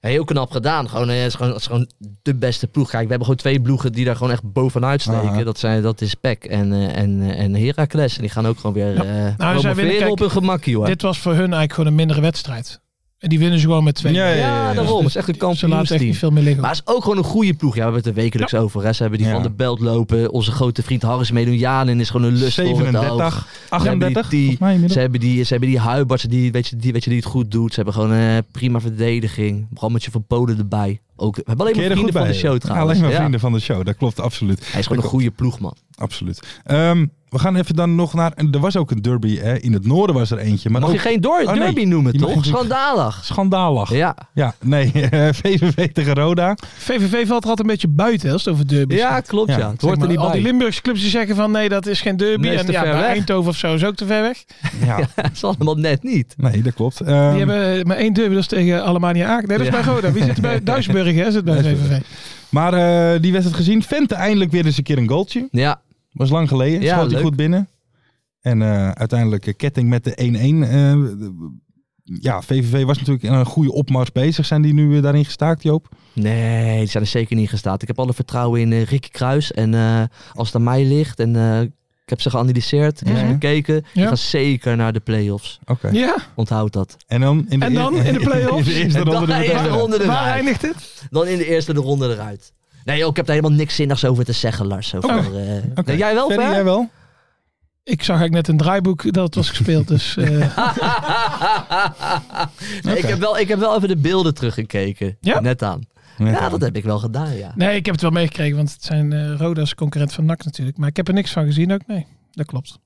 G: Ja, heel knap gedaan. Gewoon, eh, het, is gewoon, het is gewoon de beste ploeg. Kijk, we hebben gewoon twee ploegen die daar gewoon echt bovenuit steken.
F: Ah.
G: Dat, zijn, dat is PEC en, eh, en, eh, en Heracles. En die gaan ook gewoon weer eh
D: willen-
G: promoveren
D: Nou, kijk,
G: op hun gemakkie hoor.
D: Dit was voor hun eigenlijk gewoon een mindere wedstrijd. En die winnen ze gewoon met twee. dus
F: Ja, ja, ja,
G: ja,
F: ja.
G: daarom. Het is echt een
D: Ze laten echt
G: kampioensteam.
D: niet veel meer liggen.
G: Maar het is ook gewoon een goede ploeg. Ja, we hebben het er wekelijks over. Hè. Ze hebben die
F: Ja.
G: van de belt lopen. Onze grote vriend Harris Medojanen is gewoon een lust voor het oog.
F: 37, 38,
G: die-
F: volgens mij
G: Ze
F: inmiddels.
G: hebben die, ze hebben die Huibartsen die, weet je, die, weet je, die het goed doet. Ze hebben gewoon een prima verdediging. Brammetje van Polen erbij. Ook, we hebben alleen
F: Keer
G: maar
F: er
G: vrienden
F: goed
G: van de
F: bij.
G: show trouwens.
F: Alleen maar
G: Ja,
F: vrienden van de show, dat klopt absoluut.
G: Hij is gewoon een goede ploeg, man.
F: absoluut. Ehm, we gaan even dan nog naar... en Er was ook een derby, hè? in het noorden was er eentje. Maar
G: Mag je
F: ook
G: geen door,
F: Oh, nee.
G: derby noemen,
F: Je mag
G: toch?
F: natuurlijk-
G: Schandalig.
F: schandalig. Ja,
G: Ja,
F: nee, (laughs) eh, VVV tegen Roda.
D: VVV valt er altijd een beetje buiten hè, als het over derby
G: ja klopt ja.
F: Ja,
D: Zeg
G: Het hoort er
D: maar,
G: niet
F: oh,
D: al
G: bij.
D: die
G: (laughs)
D: Limburgse clubs die zeggen van nee, dat is geen derby.
G: Nee, is
D: en
G: te
D: ja,
G: ver
D: bij
G: weg.
D: Eindhoven of zo is ook te ver weg.
F: Ja,
G: Dat is allemaal net niet.
F: nee, dat klopt. Ehm,
D: Die hebben maar één derby, dat is tegen Alemania Aak. Nee, dat is
G: Ja.
D: bij Roda. Wie zit er
G: (laughs)
D: bij? Duisburg hè, zit bij
F: Duisburg.
D: VVV.
F: Maar eh, die wedstrijd gezien, Vente eindelijk weer eens een keer een goaltje.
G: Ja,
F: Was lang geleden,
G: Ja,
F: schoot hij
G: leuk.
F: goed binnen. En eh, uiteindelijk eh, ketting met de 1-1. eh, de- ja, VVV was natuurlijk aan een goede opmars bezig. Zijn die nu weer daarin gestaakt, Joop?
G: Nee, die zijn er zeker niet gestaat. Ik heb alle vertrouwen in eh, Ricky Kruis. En eh, als het aan mij ligt, en eh, ik heb ze geanalyseerd, ik heb ze
F: Ja.
G: bekeken. Ik
D: Ja.
G: ga zeker naar de play-offs.
F: Oké.
D: Ja,
G: Onthoud dat.
F: En dan (laughs) in de,
D: En dan in de play-offs?
F: in de eerste
G: En dan
F: ronde
G: in de
F: meteen.
G: eerste ronde.
D: waar
G: eruit.
D: eindigt het?
G: Dan in de eerste de ronde eruit. Nee, joh, ik heb daar helemaal niks zinnigs over te zeggen, Lars. Over,
F: Oké.
G: eh,
F: Oh. Oké.
G: nee, jij wel,
F: Ferry,
G: Fer?
F: jij wel?
D: Ik zag eigenlijk net een draaiboek dat het was gespeeld.
G: (laughs)
D: Dus eh,
G: Nee, ik,
F: Oké.
G: heb wel, ik heb wel even de beelden teruggekeken.
D: Ja?
G: Net aan. Ja,
F: Oh,
G: dat heb ik wel gedaan, ja.
D: nee, ik heb het wel meegekregen, want het zijn eh Roda's concurrent van NAC natuurlijk. Maar ik heb er niks van gezien ook, nee. Dat klopt.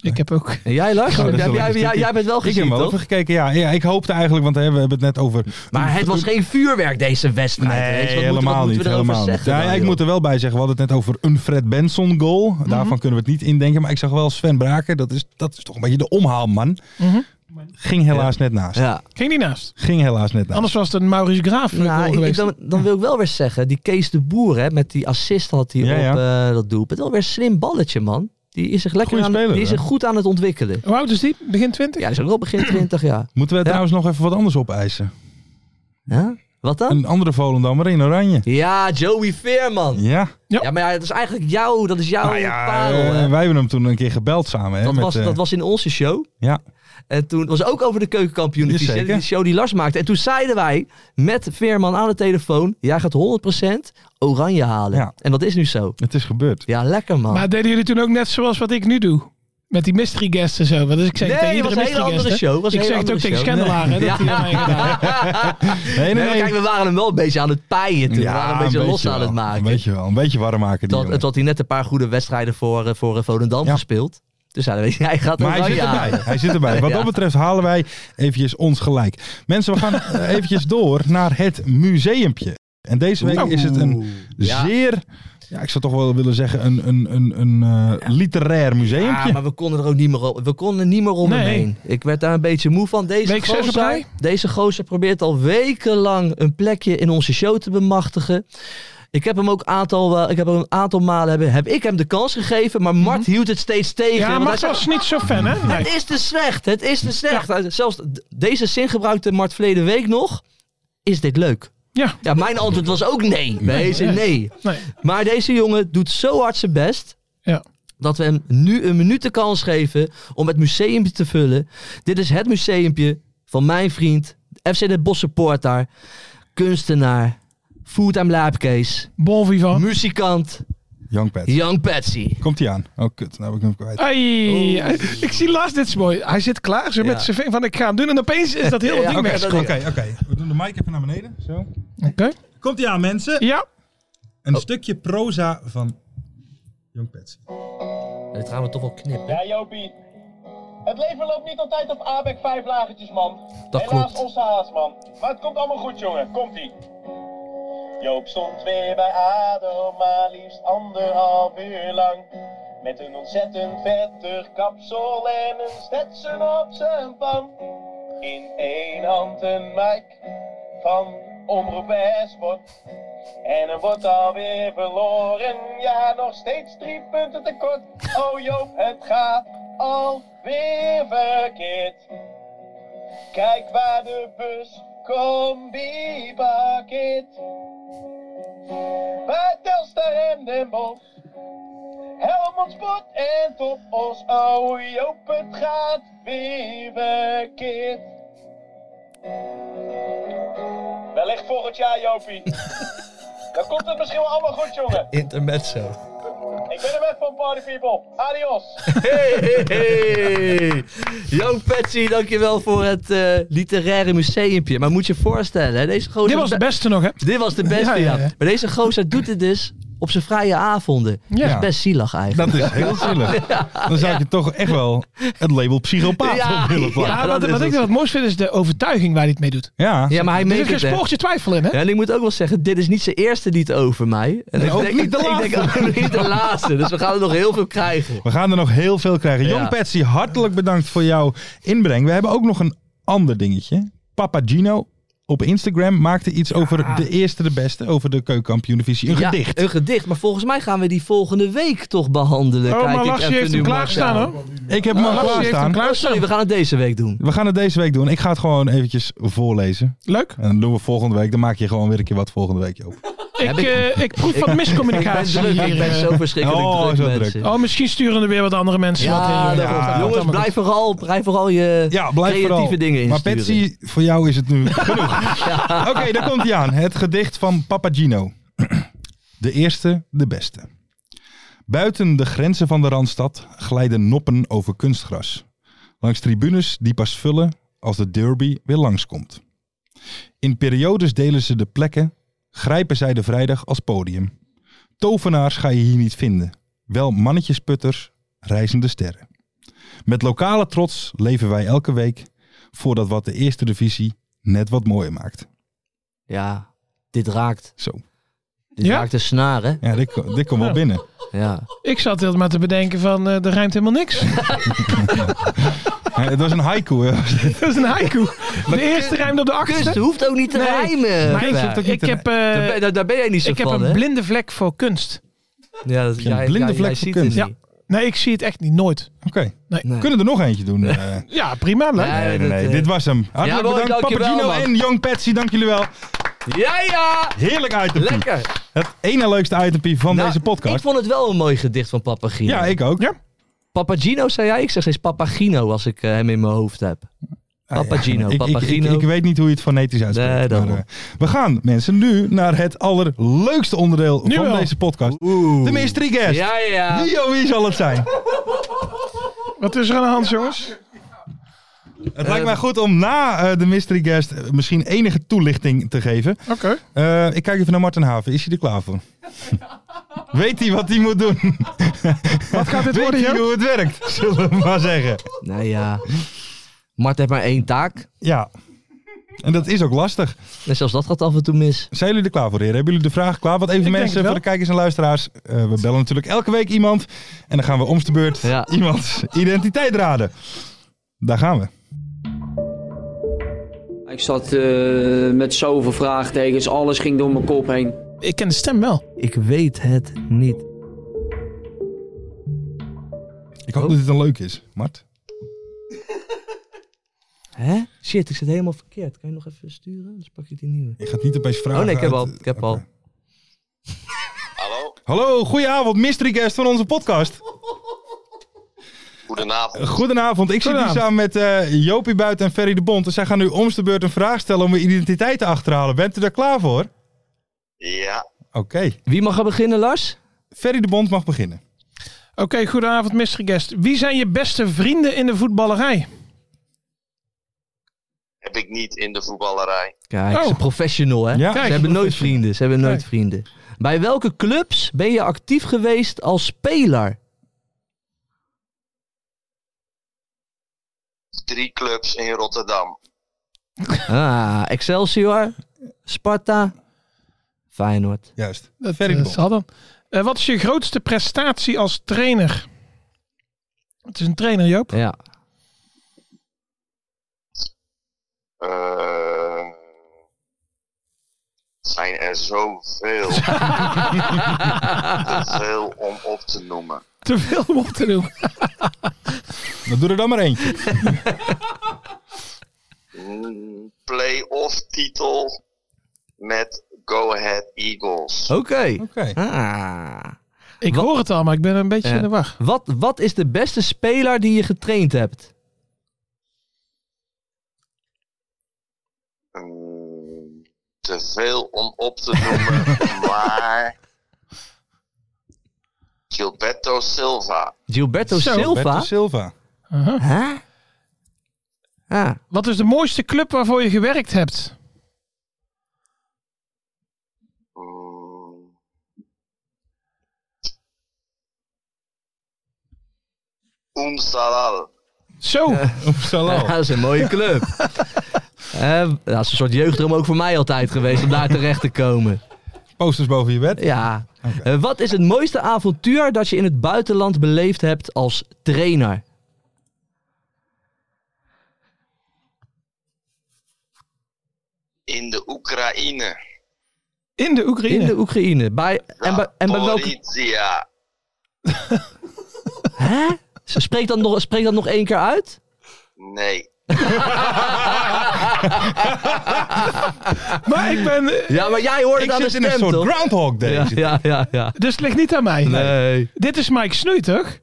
D: Ik heb ook... (laughs)
G: En jij, Lars?
F: Oh, dat is
G: jij,
F: wel
G: jij,
F: lekker.
G: jij- jij bent wel
F: Ik heb
G: gezien,
F: wel
G: toch?
F: even gekeken, ja. ja. Ik hoopte eigenlijk, want hè, we hebben het net over...
G: Maar het was geen vuurwerk, deze wedstrijd.
F: Nee,
G: weet je. Wat moeten- wat
F: helemaal
G: moeten
F: niet.
G: we erover
F: Helemaal niet.
G: zeggen
F: Ja,
G: dan,
F: ja, ik
G: joh? Mhm.
F: moet er wel bij zeggen, we hadden het net over een Fred Benson goal. Daarvan kunnen we het niet indenken. Maar ik zag wel Sven Braken, dat is, dat is toch een beetje de omhaalman.
D: Mhm.
F: Ging helaas net naast.
G: Ja.
D: Ging die naast?
F: Ging helaas net naast.
D: Anders was het een Maurice Graaf goal
G: Nou, ik- ik-
D: geweest.
G: dan, dan wil ik wel weer zeggen, die Kees de Boer hè, met die assist had hij
F: Ja,
G: op
F: ja.
G: eh, dat doelpunt. Alweer een slim balletje, man. Die is zich lekker
F: Goeie
G: aan,
F: speler,
G: die is
F: hè?
G: zich goed aan het ontwikkelen.
D: Hoe oud is die? Begin 20?
G: Ja, hij is ook wel begin 20 jaar.
F: Moeten we
G: Ja.
F: trouwens nog even wat anders opeisen?
G: Ja? Wat dan?
F: Een andere Volendammer in oranje.
G: Ja, Joey Veerman. Ja,
F: Ja.
G: maar ja, dat is eigenlijk jouw, dat is jouw
F: Nou ja,
G: parel.
F: eh,
G: hè.
F: wij hebben hem toen een keer gebeld samen. Hè,
G: dat,
F: met,
G: was,
F: eh,
G: dat was in onze show.
F: Ja.
G: En toen was ook over de keukenkampioen.
F: Ja,
G: divisie, hè,
F: zeker.
G: die show die Lars maakte. En toen zeiden wij met Veerman aan de telefoon: jij gaat 100% oranje halen.
F: Ja.
G: En dat is nu zo.
F: Het is gebeurd.
G: Ja, lekker man.
D: Maar deden jullie toen ook net zoals wat ik nu doe? Met die mystery guests en zo. Want dus ik zeg
G: Nee,
D: tegen
G: was
D: iedere
G: een hele
D: mystery
G: andere
D: guest, hè.
G: show, was een
D: ik
G: hele
D: zeg het ook
G: andere
D: tegen
G: show.
D: Schendelaar. hè, dat hij dat mee gedaan heeft.
G: (laughs)
F: Nee,
G: Nee, maar kijk, we waren hem wel een beetje aan het paaien toen. we waren een beetje los aan
F: wel.
G: het maken.
F: Een beetje wel. Een beetje warm maken. Die
G: dat,
F: jongen.
G: het had hij net een paar goede wedstrijden voor, eh, voor eh, Volendam
F: Ja.
G: gespeeld. Dus ja, dan (laughs) weet je, hij gaat
F: maar hij
G: oranje
F: zit erbij.
G: halen.
F: Hij zit
G: (laughs)
F: erbij. Wat
G: Ja.
F: dat betreft halen wij eventjes ons gelijk. Mensen, we gaan eh, eventjes door naar het museumpje. En deze week is het een
G: Ja.
F: zeer, ja, ik zou toch wel willen zeggen, een, een, een, een eh, literair museumpje.
G: Ja, Ah, maar we konden er ook niet meer, o- we konden er niet meer om
D: Nee.
G: hem heen. Ik werd daar een beetje moe van. Deze
D: Week zes op
G: gozer,
D: rij?
G: deze gozer probeert al wekenlang een plekje in onze show te bemachtigen. Ik heb hem ook aantal, eh, ik heb hem een aantal malen hebben, heb ik hem de kans gegeven, maar Mart hield het steeds tegen.
D: Mhm. Ja,
G: want hij
D: Max
G: zei,
D: was niet zo fan, hè? Nee.
G: Het is te slecht. Het is te slecht. Nou, Zelfs d- deze zin gebruikte Mart verleden week nog. Is dit leuk?
D: Ja.
G: Ja, mijn antwoord was ook nee. Nee, ze- nee.
D: Nee.
G: Maar deze jongen doet zo hard zijn best.
D: Ja.
G: Dat we hem nu een minuut de kans geven om het museumpje te vullen. Dit is het museumpje van mijn vriend, FC Den Bosch supporter, kunstenaar, fulltime laapkees,
D: Bon vivant.
G: muzikant,
F: Young Pets.
G: Young Patsy.
F: Komt hij aan? Oh, kut. Nou heb ik hem kwijt.
D: Ai, ik zie Lars, dit is mooi. Hij zit klaar zo
G: Ja.
D: met zijn vinger van ik ga hem doen. En opeens is dat hele
G: Ja,
D: ding
G: oké,
D: weg.
G: dat-
F: Oké, oké. We doen de mic even naar beneden. Zo.
D: Oké.
F: Komt hij aan, mensen?
D: Ja,
F: Een stukje proza van Young Pets.
G: Dit gaan we toch wel knippen.
E: Ja, Jopie. Het leven loopt niet altijd op Abek vijf lagertjes, man.
G: Dat
E: Helaas
G: klopt.
E: onze haas, man. Maar het komt allemaal goed, jongen. Komt-ie. Joop stond weer bij ADO, maar liefst anderhalf uur lang. Met een ontzettend vettig kapsel en een stetsen op zijn pan. In één hand een mic,
C: van Omroep Westwoord. En er wordt alweer verloren. Ja, nog steeds drie punten tekort. Oh Joop, het gaat alweer verkeerd. Kijk waar de bus combi parkeert. Bij Telstar en Den Bosch. Helmond Sport en Top Os. Oh Joop, het gaat weer verkeerd. Wellicht volgend jaar,
B: (laughs)
C: Jopie. Dan komt het misschien wel allemaal goed, jongen.
B: Intermezzo.
C: Ik ben er weg van Party People. Adios.
B: Hey, hey. Young Patsy, dankjewel voor het eh, literaire museumpje. Maar moet je je voorstellen, hè, deze gozer...
D: Dit was de beste nog, hè?
B: Dit was de beste, ja,
D: Ja, ja, ja.
B: Maar deze gozer doet het dus op zijn vrije avonden. Dat is
F: Ja.
B: best zielig eigenlijk.
F: (laughs) Dat is heel zielig. Dan zou ik je toch echt wel het label psychopaat
B: Ja,
F: op willen plakken.
B: ja,
D: Ja,
B: dat
D: wat
B: is
D: wat ik
B: het.
D: dan het mooist vind is de overtuiging waar hij het mee doet.
F: Ja,
B: Ja, maar hij
D: Er zit
B: meent
D: geen
B: het, hè.
D: spoortje twijfel in, hè?
B: Ja, en ik moet ook wel zeggen, dit is niet zijn eerste lied over mij. En ik
F: ook
B: denk,
F: niet de
B: ik denk ook niet de laatste. Dus we gaan er nog heel veel krijgen.
F: We gaan er nog heel veel krijgen.
B: Ja.
F: Jong Patsy, hartelijk bedankt voor jouw inbreng. We hebben ook nog een ander dingetje. Papa Gino op Instagram maakte iets over de eerste de beste, over de keukenkampioen-divisie. Een
B: Ja,
F: gedicht.
B: Een gedicht. Maar volgens mij gaan we die volgende week toch behandelen.
D: Oh,
B: Kijk
D: maar
B: ik
D: Lassie
B: even
D: heeft hem
B: nu maar
D: klaarstaan,
B: aan.
D: hoor.
F: Ik heb hem al
D: Lassie heeft hem
F: klaarstaan.
B: Oh,
D: klaarstaan.
B: sorry, we gaan het deze week doen.
F: We gaan het deze week doen. Ik ga het gewoon eventjes voorlezen.
D: Leuk.
F: En dan doen we volgende week. Dan maak je gewoon weer een keer wat volgende week, Joop.
D: Ik, eh, ik proef wat
B: Ik ben
D: miscommunicatie
B: druk, ik
D: hier.
B: ben
D: eh.
B: zo verschrikkelijk
F: Oh,
B: druk,
F: zo druk.
B: mensen.
D: Oh, misschien sturen er weer wat andere mensen wat in.
B: Ja,
D: joh.
B: daarom.
D: Ja,
B: jongens,
D: allemaal
B: blijf
D: goed.
B: vooral, blijf vooral je
F: Ja, blijf
B: eh, creatieve
F: vooral.
B: dingen
F: Maar
B: insturen.
F: Patsy, voor jou is het
B: (laughs)
F: nu genoeg. Oké, daar komt hij aan. Het gedicht van Papagino. (clears throat) De eerste, de beste. Buiten de grenzen van de Randstad glijden noppen over kunstgras. Langs tribunes die pas vullen als de derby weer langskomt. In periodes delen ze de plekken, grijpen zij de vrijdag als podium. Tovenaars ga je hier niet vinden. Wel mannetjesputters, reizende sterren. Met lokale trots leven wij elke week voordat wat de eerste divisie net wat mooier maakt.
B: Ja, dit raakt.
F: Zo.
B: Dit
D: Ja?
B: raakt de snaar, hè?
F: Ja, dit, ko- dit komt wel binnen.
B: Ja.
D: Ik zat heel maar te bedenken van, eh er ruimt helemaal niks. (laughs)
F: Ja, het was een haiku.
B: (laughs)
F: hè.
D: Dat is een haiku. De eerste rijmt op de
B: Kunst
D: achtste.
B: Dus hoeft ook niet te
D: Nee.
B: rijmen.
D: Maar
B: Ja.
D: ik, ik heb, eh,
B: daar, ben, daar- daar ben jij niet zo
D: ik heb
B: van,
D: een
B: hè?
D: blinde vlek voor kunst.
B: Ja, dat,
F: een
B: jij,
F: blinde
B: jij-
F: vlek
B: jij
F: voor
B: ziet
F: kunst.
B: het
D: Ja.
B: niet.
D: Nee, ik zie het echt niet, nooit.
F: Oké.
B: Nee.
F: Kunnen er nog eentje doen? eh?
D: Ja, prima. Leuk.
B: Nee,
F: nee, nee,
B: dat,
F: nee.
B: eh,
F: Dit was hem. Hartelijk
B: Jawohl,
F: bedankt
B: dankjewel,
F: Papagino
B: man.
F: en Young Patsy. Dank jullie wel.
B: Ja, ja!
F: Heerlijk itempie.
B: Lekker.
F: Het ene leukste itempie van
B: Nou,
F: deze
B: Ik
F: podcast.
B: vond het wel een mooi gedicht van Papagino.
F: Ja, ik ook. Ah, Ja.
B: Papagino zei jij? Ik zeg steeds Papagino als ik eh, hem in mijn hoofd heb. Papagino,
F: Ik, ik, ik,
B: Papagino.
F: ik weet niet hoe je het fonetisch uitspreekt.
B: Nee, daarom.
F: maar, eh, we gaan mensen nu naar het allerleukste onderdeel
D: Nu
F: van
D: wel.
F: deze podcast.
B: Oeh.
F: De mystery guest.
B: Ja, ja.
F: Wie, oh, wie zal het zijn?
D: Wat is er aan de hand, jongens?
F: Het lijkt mij goed om na eh, de mystery guest eh, misschien enige toelichting te geven.
D: Oké.
F: Eh, ik kijk even naar Martin Haven. Is hij er klaar voor? (laughs) Weet hij wat hij moet doen?
D: (laughs) Wat gaat dit
F: Weet
D: worden,
F: hij
D: joh?
F: hoe het werkt? (laughs) Zullen we maar zeggen.
B: Nou ja. Mart heeft maar één taak.
F: Ja. En dat is ook lastig.
B: En zelfs dat gaat af en toe mis.
F: Zijn jullie er klaar voor, heren? Hebben jullie de vraag klaar? Want even
D: denk
F: mensen,
D: het wel.
F: voor de kijkers en luisteraars. eh, we bellen natuurlijk elke week iemand. En dan gaan we omste beurt
B: Ja.
F: iemands identiteit raden. Daar gaan we.
H: Ik zat eh, met zoveel vraagtekens, alles ging door mijn kop heen.
D: Ik ken de stem wel.
B: Ik weet het niet.
F: Ik hoop dat dit een leuk is, Mart.
B: Hè? Shit, ik zit helemaal verkeerd. Kan je nog even sturen? Dan pak je die nieuwe.
F: Je gaat niet opeens vragen.
B: Oh nee, ik heb
F: uit-
B: al. Ik heb
F: Oké.
B: al.
G: Hallo,
F: Hallo, goedenavond, mystery guest van onze podcast. Eh,
G: goedenavond.
F: Goedenavond, ik zit hier samen met eh, Jopie Buiten en Ferry de Bond. En zij gaan nu om de beurt een vraag stellen om uw identiteit te achterhalen. Bent u daar klaar voor? Oké.
G: Ja,
B: Wie mag er beginnen, Lars?
F: Ferry de Bond mag beginnen.
D: Oké, goedenavond, mystery guest. Wie zijn je beste vrienden in de voetballerij?
G: heb ik niet in de voetballerij.
B: Kijk,
D: Oh.
B: ze is professional, hè?
F: Ja.
B: ze
D: Kijk,
B: hebben nooit vrienden. Ze hebben nooit
D: Kijk.
B: vrienden. Bij welke clubs ben je actief geweest als speler?
G: Drie clubs in Rotterdam.
B: Ah, Excelsior, Sparta, Feyenoord.
F: Juist.
D: Dat
F: Ferry de
D: eh,
F: Bond.
D: zal dan. Eh, wat is je grootste prestatie als trainer? Het is een trainer, Joop.
B: Ja.
G: Eh, zijn er
B: (laughs)
G: zoveel. te veel om op te noemen.
D: Te veel om op te noemen.
F: Dan doe er dan maar
B: (laughs)
F: eentje.
G: Mm, Play-off titel met Go Ahead Eagles.
B: Oké.
F: Oké.
B: Ah.
D: (laughs) Ik hoor het al, maar ik ben een beetje
B: Ja.
D: in de war.
B: Wat, wat is de beste speler die je getraind hebt?
G: Mm, te veel om op te
D: (laughs)
G: noemen, maar... Gilberto Silva.
B: Gilberto
D: Zo,
B: Silva?
F: Bertus Silva.
D: Aha.
B: Huh? Ah,
D: Wat is de mooiste club waarvoor je gewerkt hebt?
G: Mm. Unsalal.
D: Zo.
F: (laughs) Oh.
B: dat is een mooie club. Eh, dat is een soort jeugddroom ook voor mij altijd geweest om daar terecht te komen.
F: Posters boven je bed.
B: Ja. Eh, wat is het mooiste avontuur dat je in het buitenland beleefd hebt als trainer?
G: In de Oekraïne.
D: In de Oekraïne.
B: In de Oekraïne. Bij, en, bij, en bij
G: Oh,
B: welke...
G: Zaporizhia.
B: Hè? Spreek dat, nog, spreek dat nog één keer uit.
G: Nee.
D: Maar ik ben... eh,
B: Ja, maar jij hoort het
F: Ik
B: aan de
F: zit in een
B: stem,
F: soort
B: toch?
F: Groundhog Day.
B: Ja, ja, ja, ja.
D: Dus het ligt niet aan mij.
B: Nee.
D: Dit is Mike Snoei, toch?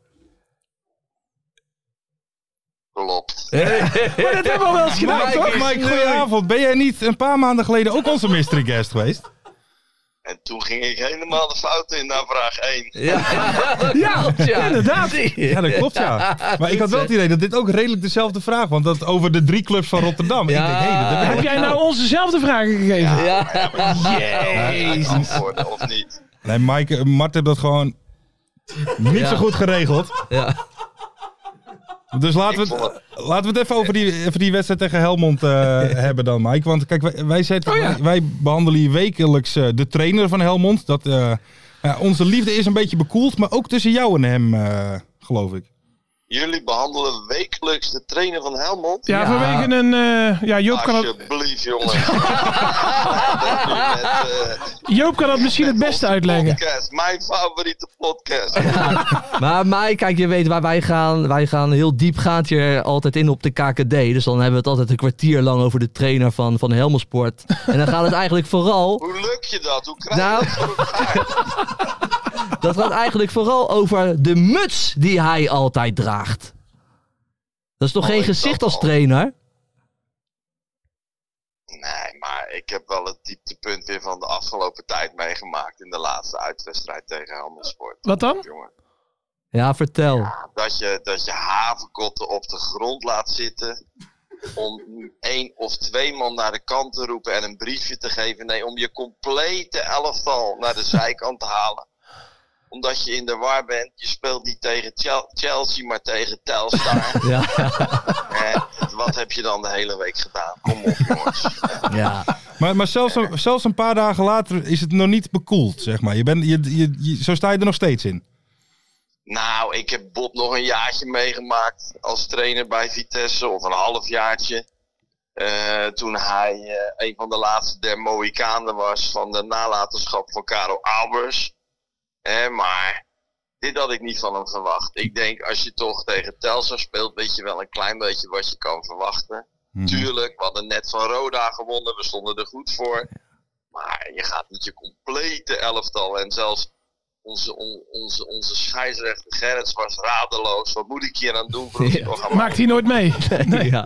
G: Klopt.
D: Maar dat hebben we al wel eens gedaan,
F: Mike,
D: toch?
F: Mike, goedenavond. Ben jij niet een paar maanden geleden ook onze mystery guest geweest?
G: En toen ging ik helemaal de fout in naar vraag 1.
B: Ja,
D: inderdaad. (laughs)
F: Ja, dat klopt ja. Maar ik had wel het idee dat dit ook redelijk dezelfde vraag was. Dat over de drie clubs van Rotterdam. Ik denk, hey, dat heb ik-
D: Heb jij nou onzezelfde vragen gegeven?
B: Ja.
G: Jezus. Antwoorden, of niet?
F: Nee, Mike, eh, Mart heeft dat gewoon niet
B: Ja.
F: zo goed geregeld.
B: Ja.
F: Dus laten we,
G: Ik vond
F: het, laten we het even over die, even die wedstrijd tegen Helmond eh, hebben dan, Mike. Want kijk, wij, wij, zetten,
D: Oh ja.
F: wij, wij behandelen hier wekelijks eh, de trainer van Helmond. Dat, eh, ja, onze liefde is een beetje bekoeld, maar ook tussen jou en hem, eh, geloof ik.
G: Jullie behandelen wekelijks de trainer van Helmond.
D: Ja, vanwege een... eh, ja,
E: Ah,
D: Joop kan, dat,
G: Alsjeblieft, jongen. Het
D: Joop kan dat misschien het beste uitleggen.
G: Podcast, mijn favoriete podcast.
B: Maar Mike, kijk, je weet waar wij gaan. Wij gaan heel diepgaand hier altijd in op de KKD. Dus dan hebben we het altijd een kwartier lang over de trainer van, van Helmersport. En dan gaat het eigenlijk vooral...
G: Hoe lukt je dat? Hoe krijg je
B: Nou,
G: dat voor elkaar?
B: (laughs) dat gaat eigenlijk vooral over de muts die hij altijd draagt. Dat is toch
G: Oh,
B: geen
G: ik
B: gezicht
G: dat
B: als
G: al.
B: trainer?
G: Nee, maar ik heb wel het dieptepunt weer van de afgelopen tijd meegemaakt. In de laatste uitwedstrijd tegen Handelsport.
D: Wat dan?
G: Jongen,
B: Ja, vertel.
G: dat je, dat je havenkotten op de grond laat zitten. Om één of twee man naar de kant te roepen en een briefje te geven. Nee, om je complete elftal naar de zijkant te halen. Omdat je in de war bent. Je speelt niet tegen Chel- Chelsea, maar tegen Telstar.
B: Ja,
G: Eh, wat heb je dan de hele week gedaan? Kom op, jongens. (laughs)
B: ja.
F: Maar, maar zelfs, een, zelfs een paar dagen later is het nog niet bekoeld, zeg maar. Je bent, je, je, je- zo sta je er nog steeds in.
G: Nou, ik heb Bob nog een jaartje meegemaakt als trainer bij Vitesse, of een halfjaartje. Eh, toen hij eh, een van de laatste der Mohikanen was van de nalatenschap van Karel Albers. Eh, maar dit had ik niet van hem verwacht. Ik denk, als je toch tegen Telstar speelt, weet je wel een klein beetje wat je kan verwachten. Tuurlijk, we hadden net van Roda gewonnen, we stonden er goed voor. Maar je gaat niet je complete elftal en zelfs onze, on- onze, onze scheidsrechter Gerrits was radeloos. Wat moet ik hier aan doen voor ons
B: Ja.
G: programma?
D: Maakt hij nooit mee.
B: ja.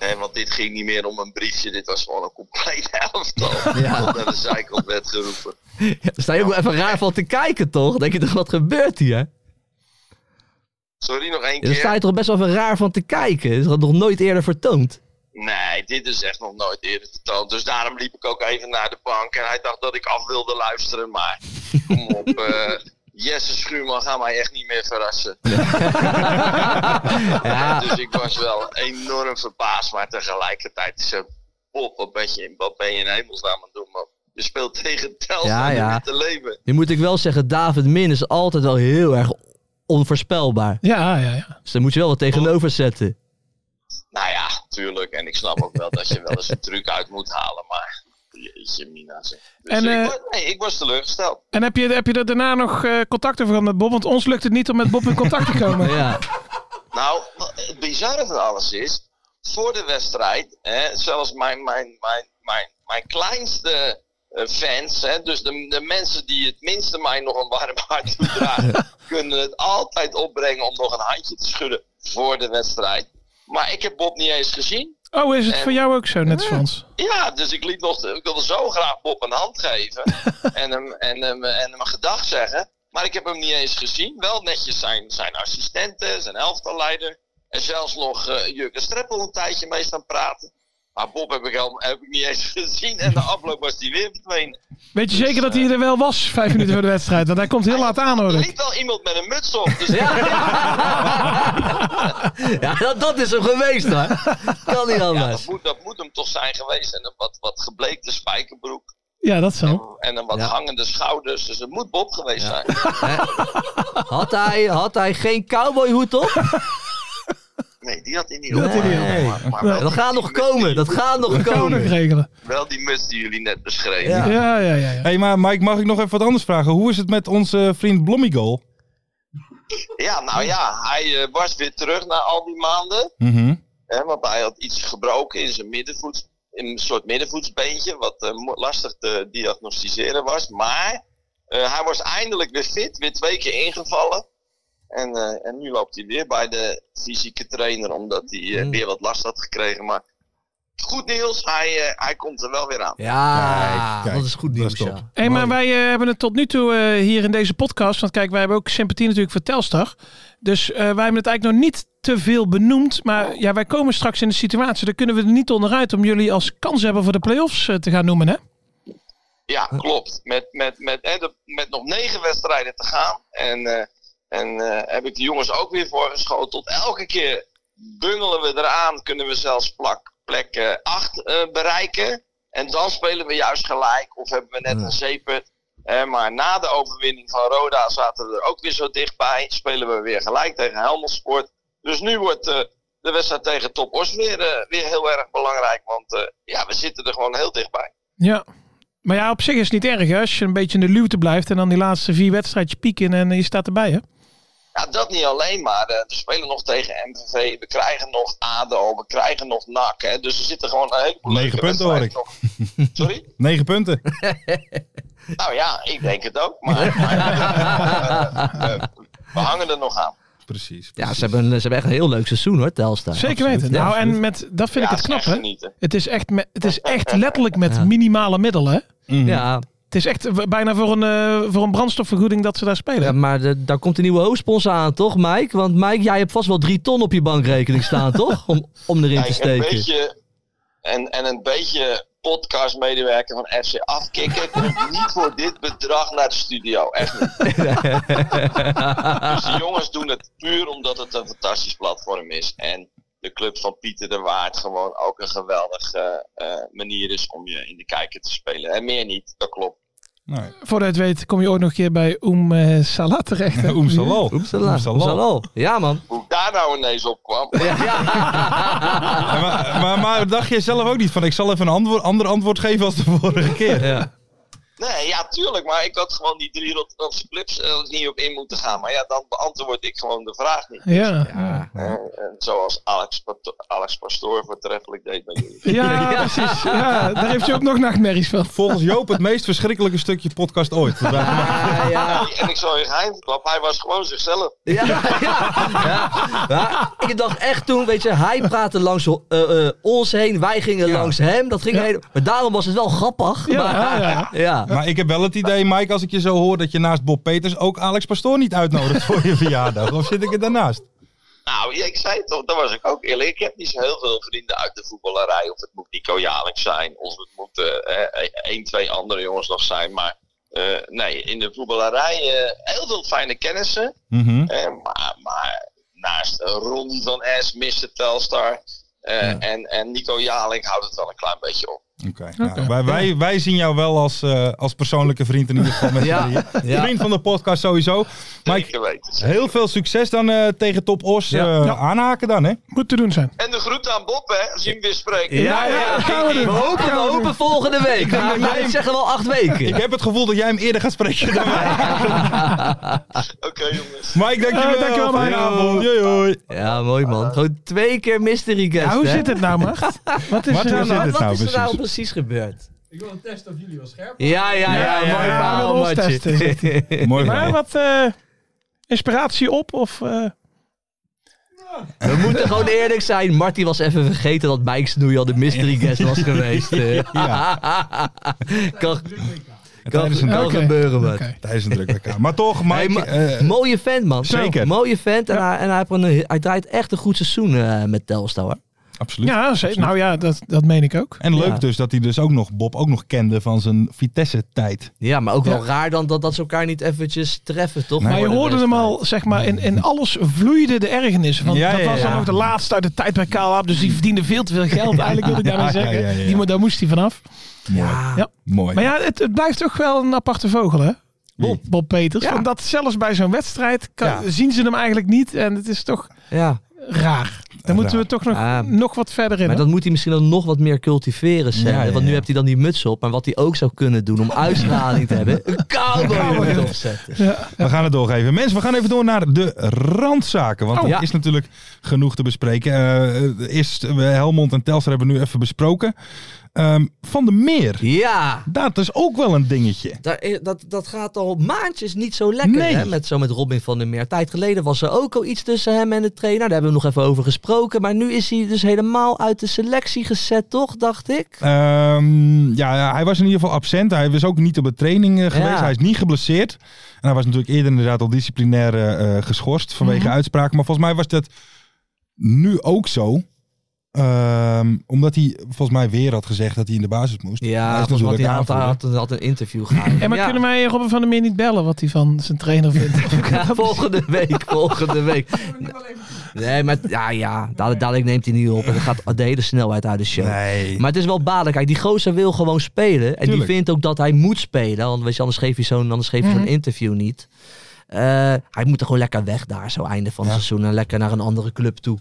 G: Nee, want dit ging niet meer om een briefje, dit was gewoon een complete (laughs) elftal.
B: Ja.
G: Dat naar de zijkant werd geroepen.
B: Daar sta je ook wel even raar van te kijken, toch? Denk je toch, wat gebeurt hier?
G: Sorry, nog één
B: Daar
G: keer.
B: sta je toch best wel even raar van te kijken. Dat is nog nooit eerder vertoond.
G: Nee, dit is echt nog nooit eerder vertoond. Dus daarom liep ik ook even naar de bank. En hij dacht dat ik af wilde luisteren.
B: (laughs)
G: Maar kom op, eh, Jesse Schuurman gaat mij echt niet meer verrassen.
B: Ja.
G: Dus ik was wel enorm verbaasd. Maar tegelijkertijd is het... Bob, wat ben je in, wat ben je in hemelsnaam aan het doen, man? Je speelt tegen Telstra
B: Ja,
G: en je
B: ja.
G: bent te leven.
B: Nu moet ik wel zeggen, David Min is altijd wel heel erg onvoorspelbaar.
D: Ja, ja, ja.
B: Dus daar moet je wel wat tegenover zetten.
G: Nou ja, tuurlijk. En ik snap ook wel dat je wel eens een truc uit moet halen. Maar Jeetje, Mina. zeg. Dus
D: En,
G: ik,
D: eh,
G: was- nee, ik was teleurgesteld.
D: En heb je, heb je er daarna nog eh, contact over gehad met Bob? Want ons lukt het niet om met Bob in contact te komen.
G: Nou, het bizarre van alles is, voor de wedstrijd, hè, zelfs mijn, mijn, mijn, mijn, mijn kleinste eh, fans, hè, dus de, de mensen die het minste mij nog een warm hart toedragen,
D: (laughs)
G: kunnen het altijd opbrengen om nog een handje te schudden voor de wedstrijd. Maar ik heb Bob niet eens gezien.
D: Oh, is het
G: En-
D: voor jou ook zo, net Frans?
G: Ja, dus ik, liet nog, ik wilde zo graag Bob een hand geven en hem, en, hem, en hem een gedag zeggen. Maar ik heb hem niet eens gezien. Wel netjes zijn, zijn assistenten, zijn elftalleider. En zelfs nog eh Jurgen Streppel een tijdje mee staan praten. Maar Bob heb ik, al, heb ik niet eens (laughs) gezien. En de afloop was hij weer verdwenen.
D: Weet je zeker dat hij er wel was, vijf minuten voor de wedstrijd? Want hij komt heel laat aan, hoor
G: Er
D: ik.
G: liep wel iemand met een muts op. Dus
B: (laughs) Ja, dat, dat is hem geweest, hè? Kan niet
G: Ja,
B: anders.
G: dat, moet, dat moet hem toch zijn geweest. En een wat, wat gebleekte spijkerbroek.
D: Ja, dat zo.
G: En een wat hangende schouders. Dus het moet Bob geweest zijn.
B: Had hij, had hij geen cowboyhoed op?
G: Nee, die had hij niet
B: Dat
G: op.
B: had hij niet
G: Maar-
B: op.
G: maar- maar
B: Nee.
G: wel
B: Dat gaat
G: die
B: nog
G: muts die-
B: komen, dat gaat nog
D: Dat gaan we nog regelen.
G: Wel die muts die jullie net beschreven.
F: Ja.
D: Ja, ja, ja.
F: hey, maar Mike, mag ik nog even wat anders vragen? Hoe is het met onze vriend Blommigol?
G: Ja, nou ja, hij eh, was weer terug na al die maanden. Hè, want hij had iets gebroken in zijn middenvoets, in een soort middenvoetsbeentje, wat eh, mo- lastig te diagnosticeren was. Maar eh, hij was eindelijk weer fit, weer twee keer ingevallen. En, eh, en nu loopt hij weer bij de fysieke trainer, omdat hij
B: Mm.
G: eh, weer wat last had gekregen. Maar goed nieuws, hij, eh, hij komt er wel weer aan.
B: Ja, dat is goed nieuws, ja.
D: Hé, maar wij eh, hebben het tot nu toe eh, hier in deze podcast. Want kijk, wij hebben ook sympathie natuurlijk voor Telstar. Dus eh, wij hebben het eigenlijk nog niet te veel benoemd. Maar ja, wij komen straks in de situatie. Daar kunnen we er niet onderuit om jullie als kans hebben voor de play-offs eh, te gaan noemen, hè?
G: Ja, klopt. Met, met, met, eh, de- met nog negen wedstrijden te gaan. En, eh, en eh, heb ik de jongens ook weer voorgeschoteld. Elke keer bungelen we eraan, kunnen we zelfs plak, plek 8 bereiken. En dan spelen we juist gelijk. Of hebben we net een zeepert. Eh, maar na de overwinning van Roda zaten we er ook weer zo dichtbij. Spelen we weer gelijk tegen Helmond Sport. Dus nu wordt eh, de wedstrijd tegen Top Os weer, eh, weer heel erg belangrijk. Want eh, ja, we zitten er gewoon heel dichtbij.
D: Ja. Maar ja, op zich is het niet erg hè? als je een beetje in de luwte blijft. En dan die laatste vier wedstrijdjes pieken en eh, je staat erbij, hè?
G: Ja, dat niet alleen, maar eh, we spelen nog tegen MVV, we krijgen nog ADO, we krijgen nog NAC. Hè, dus er zitten gewoon een heleboel
F: Negen
G: leuke
F: punten hoor ik.
G: wedstrijden Sorry?
F: Negen punten.
G: nog. Nou ja, ik denk het ook, maar, maar, eh, eh, we hangen er nog aan.
F: Precies.
B: Ja, ze hebben, ze hebben echt een heel leuk seizoen, hoor, Telstar.
D: Zeker
B: Absoluut,
D: weten.
B: ja,
D: nou, en
B: absoluut.
D: met, dat vind ik
G: Ja,
D: het
G: het is
D: knap,
G: echt
D: hè?
G: genieten.
D: Het is echt, me- het
G: (laughs)
D: is echt letterlijk met minimale middelen, hè?
B: Ja,
D: Het is echt eh, bijna voor een, eh, voor een brandstofvergoeding dat ze daar spelen.
B: Ja, maar de- daar komt een nieuwe hoofdsponsor aan, toch, Mike? Want Mike, jij hebt vast wel drie ton op je bankrekening staan, toch? Om, om erin te
G: Kijk, een
B: steken.
G: beetje, en, en een beetje podcastmedewerker van FC Afkikken komt niet voor dit bedrag naar de studio. Echt
B: (laughs)
G: niet. Dus de jongens doen het puur omdat het een fantastisch platform is. En de club van Pieter de Waard gewoon ook een geweldige eh, manier is om je in de kijker te spelen. En meer niet, dat klopt.
F: Nou,
D: Voordat je het weet, kom je ooit nog een keer bij Oem eh, Salah terecht.
B: (laughs)
D: hè?
F: Oem Salal.
B: Oepsala, oepsala. Ja, man.
G: Hoe ik daar nou ineens op kwam.
F: Maar, maar, maar dacht jij zelf ook niet van, ik zal even een antwoord, ander antwoord geven als de vorige
B: (laughs)
F: keer?
B: Ja.
G: Nee, ja, tuurlijk. Maar ik had gewoon die drie Rotterdamse clubs eh, niet op in moeten gaan. Maar ja, dan beantwoord ik gewoon de vraag niet.
D: Ja.
G: En, en zoals Alex, Pato- Alex Pastoor voortreffelijk deed bij jullie.
D: Ja, precies. Ja, daar heeft je ook nog nachtmerries van.
F: Volgens Joop het meest verschrikkelijke stukje podcast ooit. Dat wij gemaakt hebben.
B: Ja, Ah, ja.
G: En ik zal je geheim verklappen, hij was gewoon zichzelf.
B: Ja, ja, ja. Ja, Ik dacht echt toen, weet je, hij praatte langs eh, eh, ons heen, wij gingen langs hem. Dat ging heen. Maar daarom was het wel grappig.
D: Ja,
B: maar,
D: ja, ja.
B: ja.
F: Maar ik heb wel het idee, Mike, als ik je zo hoor, dat je naast Bob Peters ook Alex Pastoor niet uitnodigt voor je verjaardag. Of zit ik er daarnaast?
G: Nou, ja, ik zei het toch, daar was ik ook eerlijk. Ik heb niet zo heel veel vrienden uit de voetballerij. Of het moet Nico Jalink zijn, of het moet eh, eh, één, twee andere jongens nog zijn. Maar eh, nee, in de voetballerij eh, heel veel fijne kennissen. Eh, maar, maar naast eh, Ronnie van S, Mr. Telstar eh, en, en Nico Jalink houdt het wel een klein beetje op.
F: Oké. nou, wij, wij, wij zien jou wel als, eh, als persoonlijke vriend in ieder geval met
G: Ja.
F: ja.
G: Ja.
F: Vriend van de podcast sowieso. Mike, heel veel succes dan eh, tegen Top Os.
G: Ja.
F: Eh,
G: Ja.
F: Aanhaken dan, hè?
D: Goed te doen zijn.
G: En de groet aan Bob, hè, als je hem weer spreekt.
F: Ja, ja, dat gaan we doen.
B: We hopen,
F: Gaan
B: we
F: we doen.
B: hopen volgende week.
F: Ja,
B: Maar
F: maar
B: wij
F: jij-
B: zeggen wel acht weken.
F: Ik heb het gevoel dat jij hem eerder gaat spreken dan mij.
G: Oké, jongens.
F: Mike, dankjewel.
B: Eh, dankjewel, Mike.
F: Goedenavond. Joi, hoi.
B: Ja, mooi man. Gewoon twee keer mystery guest.
D: Ja, hoe
B: hè?
D: zit het nou, Mart? Wat is
B: Wat
D: er
B: is
D: nou,
B: er nou,
D: Mart?
B: wat is er nou precies gebeurd?
I: Ik wil een test of jullie wel scherp
B: Ja, ja, ja.
D: Ja,
B: mooi
D: ja,
B: verhaal,
D: met ons
B: Matje.
D: testen is
F: dit. Mooi
D: Maar
F: verhaal.
D: wat eh, inspiratie op? Of, eh,
B: We moeten gewoon eerlijk zijn. Marty was even vergeten dat Mike Snoei al de mystery guest was geweest. eh. (laughs) kan kan,
F: Tijdens een
B: kan
F: druk-
B: gebeuren, wat.
F: Oké. Tijdens een druk WK. Maar toch, Mike...
B: Hey, ma-
F: eh,
B: mooie vent, man.
F: Zeker.
B: Mooie vent. En, hij, en hij, heeft gewoon een- hij draait echt een goed seizoen eh, met Telstar. hoor.
F: Absoluut.
D: ja, ze- nou ja, dat, dat meen ik ook.
F: En leuk
B: Ja.
F: dus dat hij dus ook nog Bob ook nog kende van zijn Vitesse-tijd.
B: Ja, maar ook wel
F: Ja.
B: raar dan dat, dat ze elkaar niet eventjes treffen, toch?
D: maar je
B: Voor de
D: hoorde
B: rest.
D: hem al, zeg maar, in, in alles vloeide de ergernis. Want
B: Ja,
D: dat
B: ja,
D: was
B: ja.
D: dan ook de laatste uit de tijd bij KLAB. Dus die verdiende veel te veel geld, eigenlijk wil ik
F: Ja,
D: daarmee
F: ja,
D: zeggen.
F: ja, ja, ja.
D: Die, mo- daar moest hij vanaf.
F: Mooi.
D: Ja.
B: Oh,
F: Mooi.
D: Maar ja, het, het blijft toch wel een aparte vogel, hè? Bob, Bob Peters.
B: Ja.
D: Omdat zelfs bij zo'n wedstrijd kan,
B: Ja.
D: zien ze hem eigenlijk niet. En het is toch
B: Ja.
D: raar. Daar moeten we toch nog,
B: Ah.
D: nog wat verder in.
B: Maar
D: hè?
B: dan moet hij misschien dan nog wat meer cultiveren, Sam.
D: Ja, ja,
B: Want nu heeft hij dan die muts op. Maar wat hij ook zou kunnen doen om uitstraling te hebben. Een cowboy
F: Cowboy.
B: moet opzetten.
F: We gaan het doorgeven. Mensen, we gaan even door naar de randzaken. Want
B: Oh.
F: er
B: Ja.
F: is natuurlijk genoeg te bespreken. Eh, eerst, eh, Helmond en Telstra hebben we nu even besproken. Ehm, van de Meer.
B: Ja.
F: Dat is ook wel een dingetje.
B: Daar, eh, dat, dat gaat al maandjes niet zo lekker.
F: Nee.
B: Hè? Met, zo met Robin van der Meer. Tijd geleden was er ook al iets tussen hem en de trainer. Daar hebben we nog even over gesproken. Maar nu is hij dus helemaal uit de selectie gezet, toch? Dacht ik.
F: Ehm, ja, ja, hij was in ieder geval absent. Hij was ook niet op de training eh, geweest.
B: Ja.
F: Hij is niet geblesseerd. En hij was natuurlijk eerder inderdaad al disciplinair eh, eh, geschorst vanwege
B: Mhm.
F: uitspraken. Maar volgens mij was dat nu ook zo. Ehm, omdat hij volgens mij weer had gezegd dat hij in de basis moest.
B: Ja,
F: hij is
B: volgens mij had hij
F: natuurlijk
B: had,
F: aanvoerder.
B: had, had een interview gehouden.
D: En maar
B: Ja.
D: kunnen wij Robin van der Meer niet bellen wat hij van zijn trainer
B: (laughs)
D: vindt?
B: Ja, volgende week, volgende week. Nee, maar ja, ja dadelijk, dadelijk neemt hij niet op en dan gaat de hele snelheid uit de show. Maar het is wel baden. Kijk, die gozer wil gewoon spelen. En
F: Tuurlijk.
B: die vindt ook dat hij moet spelen. Want weet je, anders geef je zo'n anders geef je zo'n
F: Mhm.
B: interview niet. Eh, hij moet er gewoon lekker weg daar, zo einde van het seizoen. En lekker naar een andere club toe.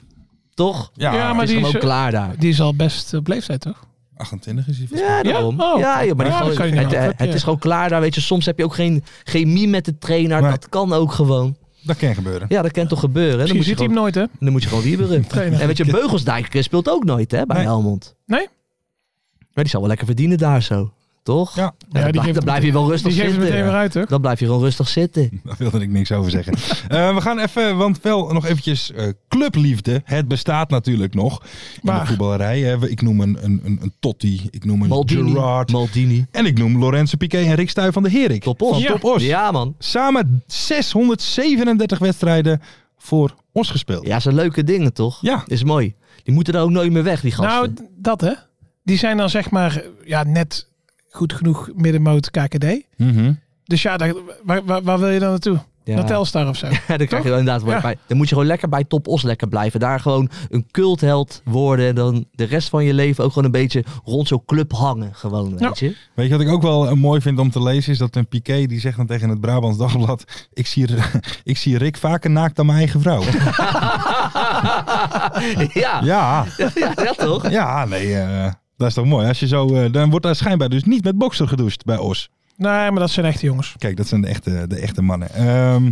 B: Toch?
F: Ja, Ja, maar
B: het is
D: die
B: gewoon
D: is-
B: klaar daar.
D: Die is al best op leeftijd, toch?
F: 28 is hij volgens
B: Ja, daarom. Ja,
D: Ja? Oh.
B: joh, maar die
D: Ja,
B: gozer-
D: dat kan je niet
B: het,
D: maken.
B: het- het is gewoon klaar daar. Weet je, soms heb je ook geen chemie met de trainer. Dat kan ook gewoon.
F: Dat kan gebeuren.
B: Ja, dat kan toch gebeuren. hè? Dan
D: Misschien
B: moet je
D: ziet hij hem nooit, hè?
B: dan moet je gewoon wieberen.
D: (laughs) Trainer.
B: en weet je, Beugelsdijk speelt ook nooit hè, bij Helmond.
D: Nee?
B: Maar die zal wel lekker verdienen daar zo. Toch? Ja,
D: Ja, die
B: dan,
D: geeft-
B: blijf, dan blijf je wel
D: die
B: rustig
D: geeft het
B: zitten.
D: meteen weer uit, Mhm. toch?
B: Dan blijf je gewoon rustig zitten.
F: Daar wilde ik niks over (laughs) zeggen. Eh, we gaan even, want wel nog eventjes eh, clubliefde. Het bestaat natuurlijk nog in de voetballerij. hè. We- ik noem een, een, een, een Totti, ik noem een
B: Maldini.
F: Gerrard.
B: Maldini.
F: En ik noem Lorenzo Piqué en Rick Stuy van de Herik. Top
B: Os.
F: Van
B: Ja.
F: Top Os.
B: Ja, man.
F: Samen 637 wedstrijden voor Os gespeeld.
B: Ja, zijn leuke dingen toch?
F: Ja.
B: Is mooi. Die moeten er ook nooit meer weg, die gasten.
D: Nou, d- dat hè. Die zijn dan zeg maar ja, net goed genoeg middenmoot KKD.
F: Mhm.
D: Dus ja, daar, waar, waar, waar wil je dan naartoe?
B: Ja.
D: Naar Telstar of zo?
B: (laughs) Ja, dan, krijg je wel inderdaad, wel
D: Ja.
B: bij- dan moet je gewoon lekker bij Top Os lekker blijven. Daar gewoon een cultheld worden. En dan de rest van je leven ook gewoon een beetje rond zo'n club hangen.
D: Nou.
B: Gewoon, weet je. (laughs)
F: Weet je wat ik ook wel eh, mooi vind om te lezen? Is dat een Piqué die zegt dan tegen het Brabants Dagblad... (laughs) Ik zie, ik zie Rick vaker naakt dan mijn eigen vrouw.
B: ja.
F: Ja.
B: ja, toch?
F: Ja, nee, eh, dat is toch mooi. Als je zo, eh, dan wordt daar schijnbaar dus niet met bokser gedoucht bij Os.
D: Nee, maar dat zijn echte jongens.
F: Kijk, dat zijn de echte, de echte mannen. Ehm,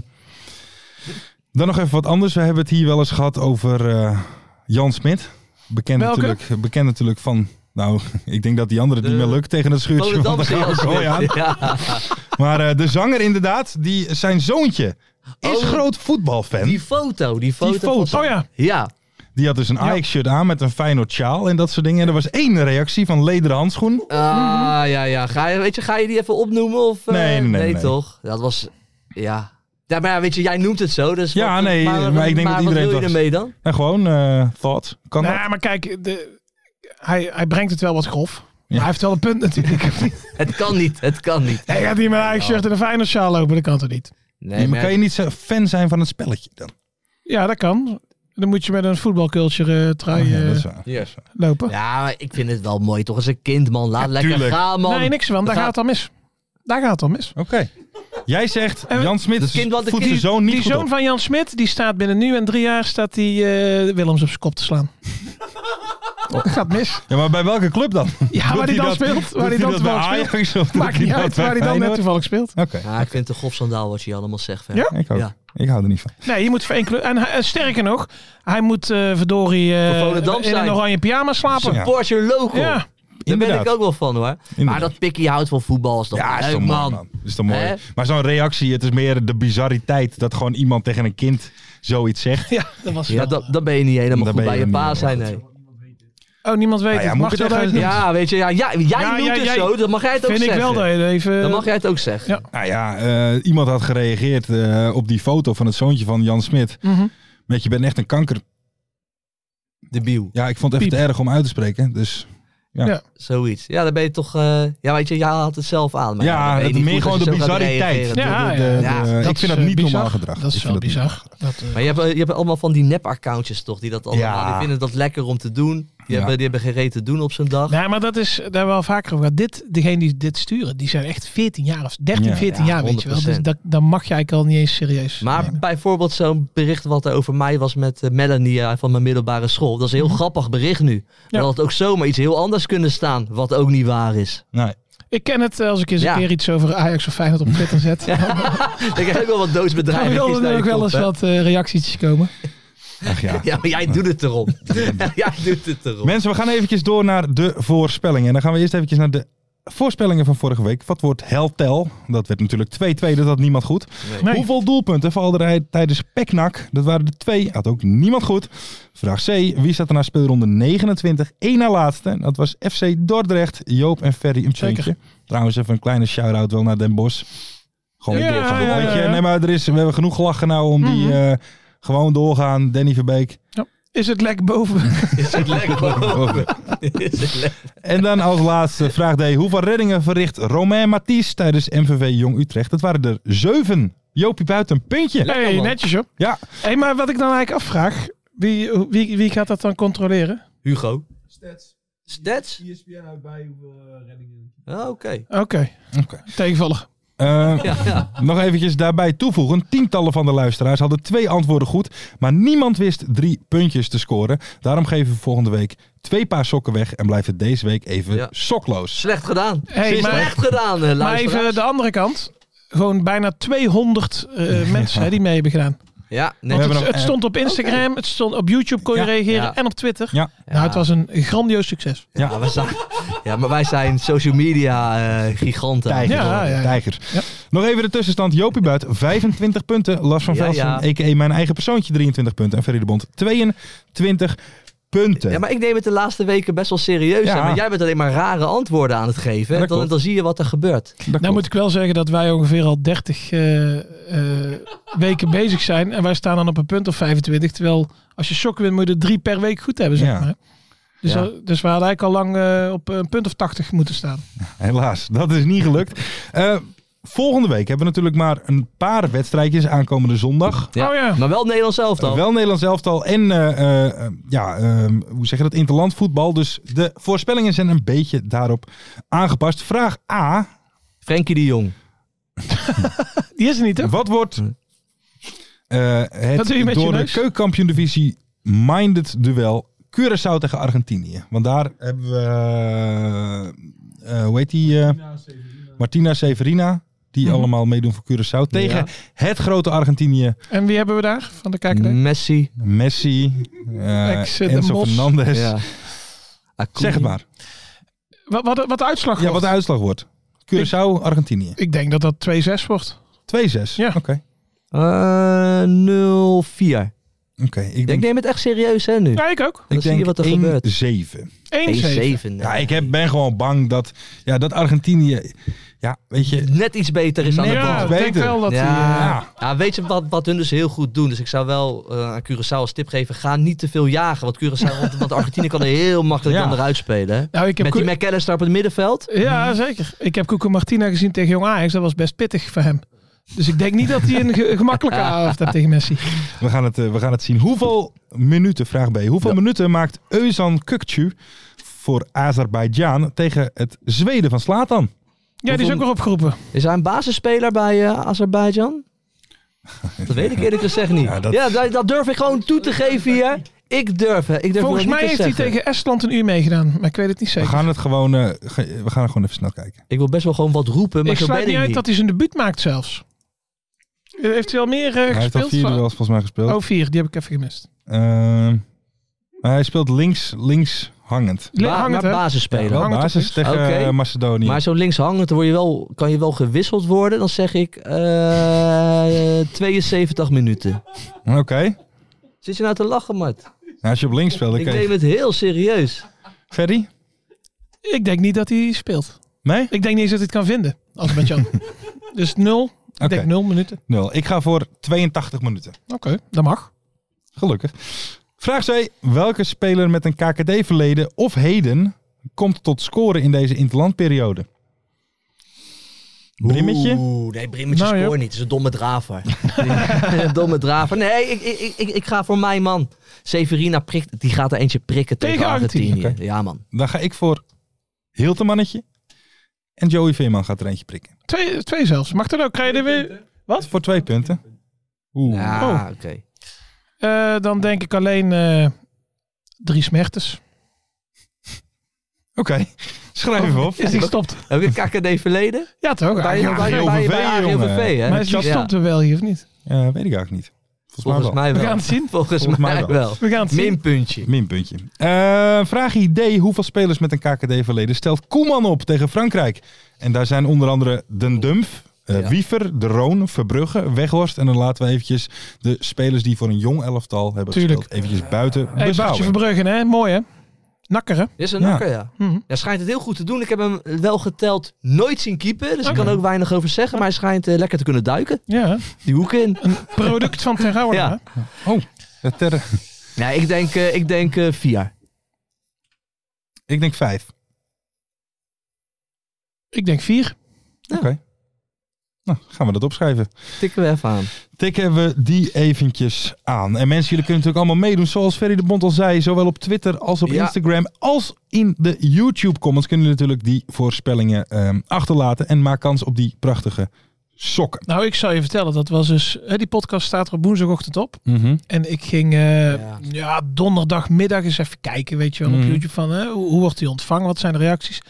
F: dan nog even wat anders. We hebben het hier wel eens gehad over eh, Jan Smit. Bekend
D: Welke?
F: natuurlijk, bekend natuurlijk van... Nou, (laughs) ik denk dat die andere het niet meer lukt tegen het schuurtje van de Oh
B: Volendamse Jan
F: Gouden Kooi aan.
B: Smit,
F: Maar eh, de zanger inderdaad, die, zijn zoontje is
B: Oh.
F: groot voetbalfan.
B: Die foto, die foto. van
F: foto.
B: zijn-
F: Oh
B: Ja.
F: Die had dus een Ajax-shirt aan met een Feyenoord sjaal en dat soort dingen. En er was één reactie van lederen handschoen.
B: Ah, ja, ja. Ga je, weet je, ga je die even opnoemen? Of, eh,
F: Nee, nee, nee, nee.
B: toch? Dat was, ja. ja. Maar ja, weet je, jij noemt het zo. Dus
F: Ja,
B: wat-
F: nee, maar, ik denk dat iedereen
B: wat wil je
F: toch-
B: ermee dan?
F: Nou, gewoon eh thought. Kan
B: Nou,
D: nee,
F: dat?
D: maar kijk, de, hij, hij brengt het wel wat grof. Maar hij heeft wel een punt
F: (laughs)
D: natuurlijk.
B: Het kan niet, het kan niet.
D: hij gaat hier met een eigen shirt en een fijne sjaal lopen, dat kan toch niet?
B: Nee,
F: maar kan je niet zo fan zijn van het spelletje dan?
D: Ja, dat kan. Dan moet je met een voetbalculture eh, trui
B: Oh ja, dat
D: eh,
B: is waar. Ja, dat is waar.
D: lopen.
B: Ja, maar ik vind het wel mooi toch. Als een kind, man. Laat lekker
F: tuurlijk.
B: gaan, man.
D: Nee, niks van. Daar gaat het al mis. Daar gaat het al mis.
F: Oké. Jij zegt, Jan Smit
B: kind wat- de
F: voedt
B: kind-
F: zijn zoon niet
D: die
F: goed
D: zoon
F: op.
D: van Jan Smit, die staat binnen nu en drie jaar staat die eh, Willems op zijn kop te slaan. Dat gaat
F: (laughs)
D: mis.
F: Ja, maar bij welke club dan?
D: Ja, Ah, waar
F: Oh. Doet
D: die dan
F: dat-
D: speelt.
F: doet
D: Waar die dan
F: dat bij
D: toevallig
F: Ajax (laughs) of
D: speelt.
F: doet
D: Maakt niet
F: dat
D: uit
F: bij
D: waar hij dan net
F: Feyenoord?
D: toevallig speelt.
F: Oké.
B: Ja, ik vind het een gofsandaal wat je allemaal zegt. hè.
D: Ja?
F: Ik ook.
B: Ja.
F: Ik hou er niet van.
D: Nee, je moet voor één club. En hij- eh, sterker nog, hij moet eh, verdorie eh,
B: Voor Volendam
D: in een
B: zijn.
D: oranje pyjama slapen.
B: Support your local.
D: Ja.
B: Daar ben
F: Inderdaad.
B: ik ook wel van hoor. Maar dat pikkie houdt van voetbal is toch
F: Ja,
B: leuk,
F: is toch mooi, man. Is toch mooi.
B: Hè?
F: Maar zo'n reactie, het is meer de bizarriteit dat gewoon iemand tegen een kind zoiets zegt.
D: Ja, dat was
B: Ja, Nou, dan, dan ben je niet helemaal
F: Dan
B: goed
F: ben
B: bij
F: je
B: je
F: niet
B: pa
F: helemaal
B: zijn. Nee.
D: Oh, niemand weet
F: Nou ja,
D: het.
F: moet
D: Mag
F: ik
D: dat
F: het
D: uit?
F: even-
B: Ja, weet je, ja, ja, jij
D: Ja,
B: noemt
D: ja,
B: het
D: jij-
B: zo, dan mag jij het ook
D: Vind ik
B: zeggen.
D: wel dat je even...
B: Dan mag jij het ook zeggen.
F: Nou ja, eh, iemand had gereageerd eh, op die foto van het zoontje van Jan Smit.
D: Mhm.
F: Met je bent echt een kanker.
B: De biel.
F: Ja, ik vond het even
B: Piep.
F: te erg om uit te spreken. Dus ja.
D: Ja.
B: Zoiets. Ja, dan ben je toch... eh, ja, weet je, jij haalt het zelf aan. Maar
F: Ja,
B: dan ben je
F: het
B: niet
F: meer
B: goed
F: gewoon
B: als
F: de
B: je zo gaat
F: bizarriteit.
B: reageren.
D: Ja,
F: De- de- de-
B: ja.
F: de-
D: Dat
F: ik
D: is,
F: vind dat
D: eh,
F: niet normaal
D: bizar.
F: gedrag.
D: Dat
F: Ik
D: is
F: vind
D: wel
F: dat niet
D: bizar. Dat, eh,
B: Maar je hebt, je hebt allemaal van die nep-accountjes toch, die dat allemaal...
F: Ja.
B: Die vinden dat lekker om te doen. Die,
F: Ja.
B: hebben, die hebben geen reet te doen op zo'n dag.
D: Nee, maar dat is, daar hebben we al vaker over gehad. Dit, degene die dit sturen, die zijn echt 14 jaar of 13,
F: Ja.
D: 14
B: Ja,
D: jaar, weet je wel. Dus
B: 100%.
D: dat, dan mag je eigenlijk al niet eens serieus
B: Maar
D: nemen.
B: bijvoorbeeld zo'n bericht wat er over mij was met eh, Melanie eh, van mijn middelbare school. Dat is een heel grappig bericht nu.
D: Mhm. Ja.
B: Dat had ook zomaar iets heel anders kunnen staan, wat ook niet waar is.
F: Nee.
D: Ik ken het eh, als ik eens
B: Ja.
D: een keer iets over Ajax of Feyenoord op Twitter (laughs) zet.
B: Ik heb ook wel wat
D: Dan
B: doosbedrijven.
D: wil er ook wel eens wat eh, reactietjes komen. (laughs)
F: Ach ja.
B: Ja, maar jij doet het erom. jij doet het erom.
F: Mensen, we gaan eventjes door naar de voorspellingen. En dan gaan we eerst eventjes naar de voorspellingen van vorige week. Wat wordt Heltel? Dat werd natuurlijk 2-2, dat had niemand goed.
D: Nee.
F: Hoeveel doelpunten valde hij tijdens Peknak? Dat waren er twee, had ook niemand goed. Vraag C, wie zat er na speelronde 29? Eén na laatste, dat was FC Dordrecht. Joop en Ferry een
D: Zeker.
F: puntje. Trouwens, even een kleine shout-out wel naar Den Bosch. Gewoon
D: Ja,
F: doorgaan.
D: ja, ja,
F: Weet je,
D: ja. Mhm.
F: Nee, maar er is, we hebben genoeg gelachen nou om die... eh, gewoon doorgaan, Danny Verbeek. Oh.
D: Is het lek boven?
B: Is het lekker? (laughs) Is het lekker?
F: En dan als laatste vraag D. Hoeveel reddingen verricht Romain Mathies tijdens MVV Jong Utrecht? Dat waren er zeven. Jopie buiten een puntje.
D: Nee,
B: man.
D: netjes hoor.
F: Ja,
D: Hey, maar wat ik dan eigenlijk afvraag, wie, wie, wie gaat dat dan controleren?
B: Hugo.
I: Stats. E
B: Stats?
I: ESPN houdt bij hoeveel eh, reddingen.
B: Ah, Oké.
D: Oké,
F: Oké.
D: tegenvallig.
F: Eh,
B: Ja, ja.
F: nog eventjes daarbij toevoegen. Tientallen van de luisteraars hadden twee antwoorden goed. Maar niemand wist drie puntjes te scoren. Daarom geven we volgende week twee paar sokken weg. En blijft het deze week even
B: Ja.
F: sokloos.
B: Slecht gedaan.
D: Hey, maar,
B: Slecht gedaan, eh,
D: maar
B: luisteraars.
D: even de andere kant. Gewoon bijna 200
F: (laughs)
D: eh, mensen hè, die mee hebben gedaan.
B: Ja, nee.
D: Want
F: hebben
D: het,
F: hem,
D: het stond op Instagram, het stond op YouTube kon je
F: Ja.
D: reageren
B: Ja.
D: en op Twitter.
F: Ja.
D: Nou, het was een grandioos succes.
F: Ja.
B: Ja, we zijn, ja, maar wij zijn social media eh, giganten.
F: Tijgers.
D: Ja, ja, ja.
F: Tijgers.
D: Ja.
F: Nog even de tussenstand. Jopie Buit 25 punten. Lars van
B: Ja,
F: Velsen,
B: ja.
F: a.k.a. mijn eigen persoontje, 23 punten. En Ferry de Bond, 22 punten.
B: Ja, maar ik neem het de laatste weken best wel serieus.
F: Ja.
B: hè, Maar jij bent alleen maar rare antwoorden aan het geven.
F: Ja,
B: hè.
F: dat
B: dan,
F: klopt.
B: dan zie je wat er gebeurt.
F: Dat
D: Nou
F: klopt.
D: moet ik wel zeggen dat wij ongeveer al 30 eh, eh, weken (laughs) bezig zijn. En wij staan dan op een punt of 25. Terwijl als je sokken wint, moet je er drie per week goed hebben, zeg
F: Ja.
D: maar. Dus,
B: Ja.
D: al- dus we hadden eigenlijk al lang eh, op een punt of 80 moeten staan.
F: Helaas, dat is niet gelukt. Eh, volgende week hebben we natuurlijk maar een paar wedstrijdjes aankomende zondag.
D: Oh ja.
B: Maar wel Nederlands elftal.
F: Eh, Wel Nederlands elftal en eh, eh, eh, ja, ehm, hoe zeg je dat? Interland voetbal. Dus de voorspellingen zijn een beetje daarop aangepast. Vraag A.
B: Frenkie de Jong.
D: Die is er niet, hè?
F: Wat wordt eh,
D: Hm. Wat doe je
F: het
D: met je
F: door de
D: neus?
F: keukenkampioen divisie minded duel Curaçao tegen Argentinië? Want daar hebben we, eh, eh, hoe heet die, eh, Martina Severina, die
D: Mhm.
F: allemaal meedoen voor Curaçao. Tegen
B: Ja.
F: het grote Argentinië,
D: En wie hebben we daar van de
F: Mm.
D: KKD?
B: Messi.
F: Messi, eh
D: Ex, eh, de
F: Enzo
D: Mos.
F: Fernandes.
B: Acuna.
F: Zeg het maar.
D: Wat, wat, wat de uitslag
F: Ja, wat
D: wordt?
F: de uitslag wordt. Curaçao, Argentinië. 2-6.
D: Oh, Ik denk dat dat 2-6 wordt. Ja.
F: Oké,
B: Eh, 0-4.
F: Oké, ik
B: Ik
F: denk,
B: neem het echt serieus hè nu.
D: Ja, ik ook.
B: Dan zie je wat er
F: ik
B: gebeurt.
F: denk 1-7.
D: 1-7.
B: 1-7.
F: Ja, ik heb, ben gewoon bang dat, ja, dat Argentinië. Ja, weet je.
B: Net iets beter is aan
F: Net
B: de
F: iets
D: Ja,
B: bal.
D: ik denk
F: beter.
D: wel dat die, eh,
B: ja.
F: Ja.
B: ja, weet je wat, wat hun dus heel goed doen? Dus ik zou wel eh, aan Curaçao als tip geven: ga niet te veel jagen. Want Curaçao, want, want Argentinië kan er heel makkelijk
F: Ja.
B: dan eruit spelen. hè.
D: Nou, ik heb
B: Met
D: Koe-
B: die McAllister op het middenveld.
F: Mm.
D: Ja, zeker. Ik heb Koeken Martina gezien tegen Jong Ajax. Dat was best pittig voor hem. Dus ik denk niet dat hij een
B: (laughs)
D: ge- gemakkelijke avond heeft tegen Messi.
F: We gaan, het, eh, we gaan het zien. Hoeveel minuten, vraag B, hoeveel minuten maakt Özan Kökçü voor Azerbeidzjan tegen het Zweden van Slatan?
D: Ja, die is ook weer opgeroepen.
B: Is hij een basisspeler bij eh (laughs) Azerbeidzjan? Dat weet ik eerlijk gezegd niet. Ja, dat, dat durf ik gewoon toe te geven hier. Ik durf het. Ik durf
D: Volgens
B: het
D: mij
B: niet
D: heeft
B: te
D: hij
B: zeggen.
D: tegen Estland een uur meegedaan, maar ik weet het niet
F: We
D: zeker.
F: gaan het gewoon, eh, ge- we gaan er gewoon even snel kijken.
B: Ik wil best wel gewoon wat roepen,
D: ik sluit niet uit dat hij zijn debuut maakt zelfs. Eh, Heeft hij al meer eh,
F: Hij heeft al
D: gespeeld?
F: vier duels volgens mij gespeeld.
D: Oh, vier. Die heb ik even gemist.
F: Ehm, maar hij speelt links, links hangend.
B: Ba- maar basisspeler.
F: Ja, basis tegen
B: Oké.
F: eh, Macedonië.
B: Maar zo links hangend dan word je wel, kan je wel gewisseld worden. Dan zeg ik eh, (laughs) 72 minuten.
F: Oké.
B: Zit je nou te lachen, Mart?
F: Nou, als je op links speelt, dan
B: Ik
F: kan je-
B: neem het heel serieus.
F: Ferry?
D: Ik denk niet dat hij speelt.
F: Nee?
D: Ik denk niet eens dat hij het kan vinden. Als met
F: (laughs)
D: Jan. dus nul. Ik denk nul minuten.
F: Nul. Ik ga voor 82 minuten.
D: Oké, dat mag.
F: Gelukkig. Vraag 2. Welke speler met een KKD-verleden of heden komt tot scoren in deze interlandperiode? Brimmetje?
B: Oeh, nee, Brimmetje
F: Nou, ja.
B: scoort niet. Het is een domme draver. (laughs) een domme draver. Nee, ik, ik, ik, ik ga voor mijn man. Severina prikt, die gaat er eentje prikken tegen, Argentinië. Ja, man.
F: Dan ga ik voor Hiltemannetje. En Joey Veerman gaat er eentje prikken.
D: Twee, twee zelfs. Mag dat ook? Krijg je er weer... Wat?
F: Voor twee punten. Oeh.
B: Ja,
D: Oh.
B: oké.
D: Eh, dan denk ik alleen eh, drie smertes. (laughs)
F: Oké, schrijf even op.
D: Is die gestopt?
B: Heb ik een KKD verleden?
D: Ja, toch?
B: Bij- bij- bij- bij- bij- bij AGOVV, hè?
D: Maar is die
B: Ja.
D: stopt er wel hier of niet?
F: Eh, weet ik eigenlijk niet. Volgens,
B: Volgens mij wel.
D: We gaan het zien.
B: Volgens, mij, wel.
D: We gaan het zien.
B: Minpuntje.
F: Minpuntje. Eh, vraag ID. Hoeveel spelers met een KKD-verleden stelt Koeman op tegen Frankrijk? En daar zijn onder andere Den Dumf, eh, Wiever, De Roon, Verbrugge, Weghorst. En dan laten we eventjes de spelers die voor een jong elftal hebben
D: Tuurlijk.
F: gespeeld eventjes buiten
D: Hey, Bartje
F: beschouwen.
D: Eh, Verbruggen, hè? Mooi, hè? Nakker, hè?
B: Dit is een
F: Ja.
B: nakker, ja. Hij schijnt het heel goed te doen. Ik heb hem wel geteld nooit zien keeper. Dus ik kan ook weinig over zeggen. Maar hij schijnt eh, lekker te kunnen duiken.
D: Ja.
B: Die hoek in.
D: Product van Ten Gouwen,
B: Ja.
D: hè?
F: Oh, dat ter- (laughs)
B: Nee, ik denk, eh, ik denk eh, vier.
F: ik denk vijf.
D: Ik denk vier.
F: Oké. Nou, gaan we dat opschrijven.
B: Tikken we even aan.
F: Tikken we die eventjes aan. En mensen, jullie kunnen natuurlijk allemaal meedoen. Zoals Ferry de Bond al zei, zowel op Twitter als op
B: Ja.
F: Instagram... als in de YouTube-comments kunnen jullie natuurlijk die voorspellingen ehm, achterlaten... en maak kans op die prachtige sokken.
D: Nou, ik zal je vertellen, dat was dus... Hè, die podcast staat er op woensdagochtend op.
F: Mhm.
D: En ik ging eh, ja. donderdagmiddag eens even kijken, weet je wel,
F: Mhm.
D: op YouTube van hè, hoe, hoe wordt die ontvangen, wat zijn de reacties.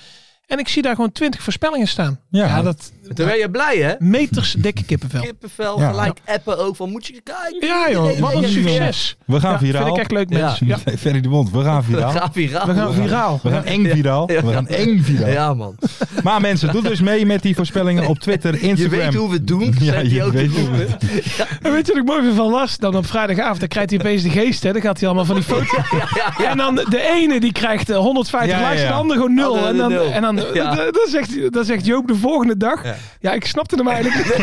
D: En ik zie daar gewoon twintig voorspellingen staan.
F: Ja.
D: Ja, dat
B: Toen ben je blij, hè?
D: meters dikke kippenvel.
B: Kippenvel,
F: Ja.
B: gelijk appen ook. Van, moet je kijken?
D: Ja joh, wat een succes.
F: We gaan
D: Ja,
F: viraal.
D: Vind ik
F: (laughs)
D: echt leuk
B: Ja.
D: mensen. Ja.
F: Ferry de Bond, we gaan viraal.
B: Ga viraal.
D: We gaan viraal.
F: We gaan eng viraal. We gaan eng viraal.
B: Ja, man.
F: Maar mensen, doe dus mee met die voorspellingen op Twitter,
B: Je
F: Instagram.
B: weet hoe we het doen.
F: Ja,
B: Zet die
F: je
B: ook te
F: weet hoe we-
B: (laughs) roepen.
D: En weet je wat ik mooi vind van Lars? Dan op vrijdagavond, dan krijgt hij opeens de geest, hè. Dan gaat hij allemaal van die foto's. En dan de ene die krijgt eh, 150
F: Ja, ja,
D: likes,
F: ja.
D: de ander gewoon nul.
B: Andere
D: En dan,
B: nul.
D: en dan,
B: Ja.
D: dan, dan zegt, dan zegt Joop de volgende dag, ja, ik snapte hem eigenlijk niet.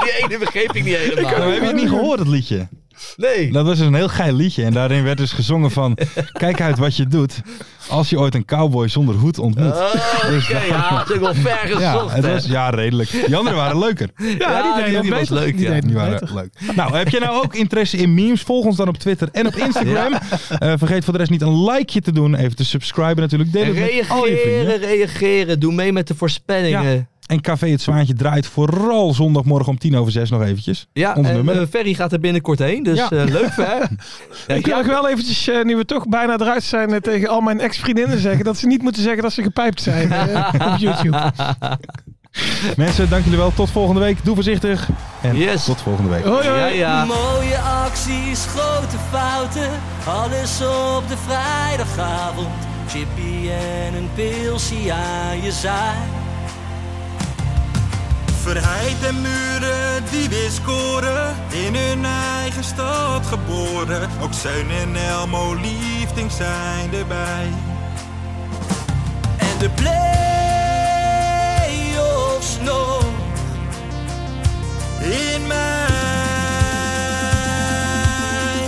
B: Die ene begreep ik niet helemaal.
F: Nou, heb je het niet gehoord, het liedje?
B: Nee.
F: (laughs) Dat was dus een heel geil liedje. En daarin werd dus gezongen
B: (laughs)
F: van... Kijk uit wat je doet als je ooit een cowboy zonder hoed ontmoet.
B: Oh, oké. ja, dat is ook wel ver
F: Dus- ja,
B: gezocht,
F: het
B: hè?
F: was, ja, redelijk. Die anderen waren
B: (laughs)
F: leuker.
D: Ja, die deed dat
B: die was
D: beter.
B: leuk,
D: Die
B: ja.
D: deed
F: Die
D: het
F: waren
D: beter.
F: leuk. Nou, heb je nou ook interesse in memes? Volg ons dan op Twitter en
B: (laughs)
F: op Instagram. Eh, vergeet voor de rest niet een likeje te doen. Even te subscriben natuurlijk. Deel
B: En
F: het met al je
B: reageren,
F: vrienden.
B: reageren. Doe mee met de voorspellingen. Ja,
F: En Café Het Zwaantje draait vooral zondagmorgen om tien over zes nog eventjes. Ons
B: en
F: nummer.
B: eh, Ferry gaat er binnenkort heen. Dus
F: Ja.
B: eh, leuk, hè? Ja,
D: Ik wil ook wel eventjes, eh, nu we toch bijna eruit zijn, eh, tegen al mijn ex-vriendinnen zeggen dat ze niet moeten zeggen dat ze gepijpt zijn eh, op
B: (laughs)
D: YouTube.
F: Mensen, dank jullie wel. Tot volgende week. Doe voorzichtig. En
B: Yes.
F: tot volgende week.
D: Hoi hoi.
B: ja, ja.
E: Mooie acties, grote fouten, alles op de vrijdagavond. Chippy en een pilsie aan je zaai. Verheid en muren die weer scoren, in hun eigen stad geboren. Ook Zijn en Elmo liefding zijn erbij. En de play-offs nog in mij.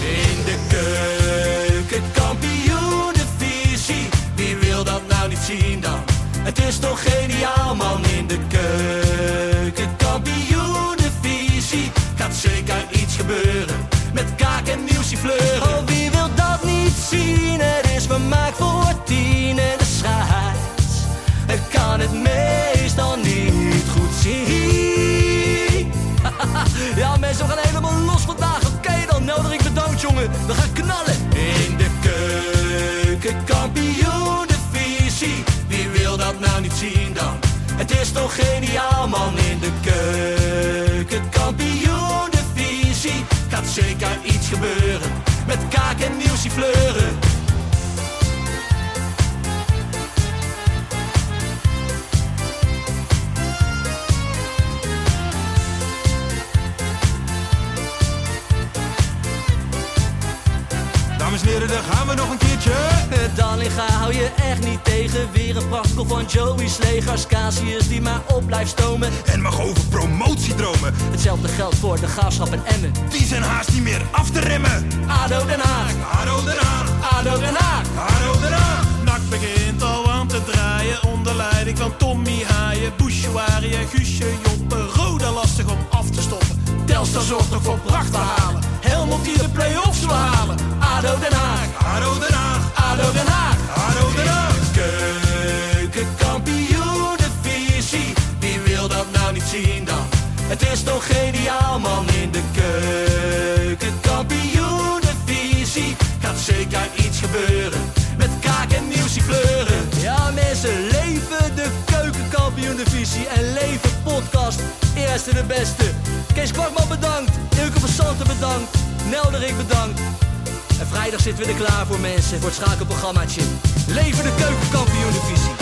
E: In de keuken, kampioen de visie. Wie wil dat nou niet zien dan? Het is toch geniaal man in de keuken.
J: vlucht.
B: Oh, wie wil dat niet zien? Het is vermaakt voor tien en de scheids. Ik kan het meestal niet goed
J: (laughs)
B: zien. ja, mensen, we gaan helemaal los vandaag. Oké, dan nodig ik bedankt, jongen. We gaan knallen.
J: In de keuken, kampioen, de visie. Wie wil dat nou niet zien dan? Het is toch geniaal, man. In de keuken, kampioen, de visie. Gaat zeker iets gebeuren. Met kaak en nieuwsie fleuren.
E: Dames en heren, daar gaan we nog een keertje.
B: Dallinga hou je echt niet tegen. Weer een prachtkel van Joey's legers. Casius die maar op blijft stomen.
E: En mag over promotie dromen.
B: Hetzelfde geldt voor de graafschap en Emmen.
E: Die zijn haast niet meer af te remmen.
B: ADO Den Haag.
E: ADO Den Haag.
B: ADO Den Haag.
E: ADO Den Haag.
K: Nak begint al aan te draaien onder leiding van Tommy Haaien, Bouchouari en Guusje Joppen. Roda lastig om af te stoppen. Telstar zorgt nog voor pracht te halen. Helmond die de play-offs wil halen.
B: ADO Den Haag.
E: ADO Den Haag.
B: ADO Den Haag.
E: ADO Den Haag.
J: Keukenkampioen, de visie. Wie wil dat nou niet zien dan? Het is toch geniaal, man. In de keukenkampioen, de visie. Gaat zeker iets gebeuren. Met kaak en nieuwsie kleuren.
B: Ja mensen, leven de keukenkampioen-divisie en leven podcast. Eerste de beste. Kees Kwakman bedankt, Ilke van Santen bedankt, Nelderik bedankt. En vrijdag zitten we er klaar voor mensen, voor het schakelprogrammaatje. Leven de keukenkampioen-divisie.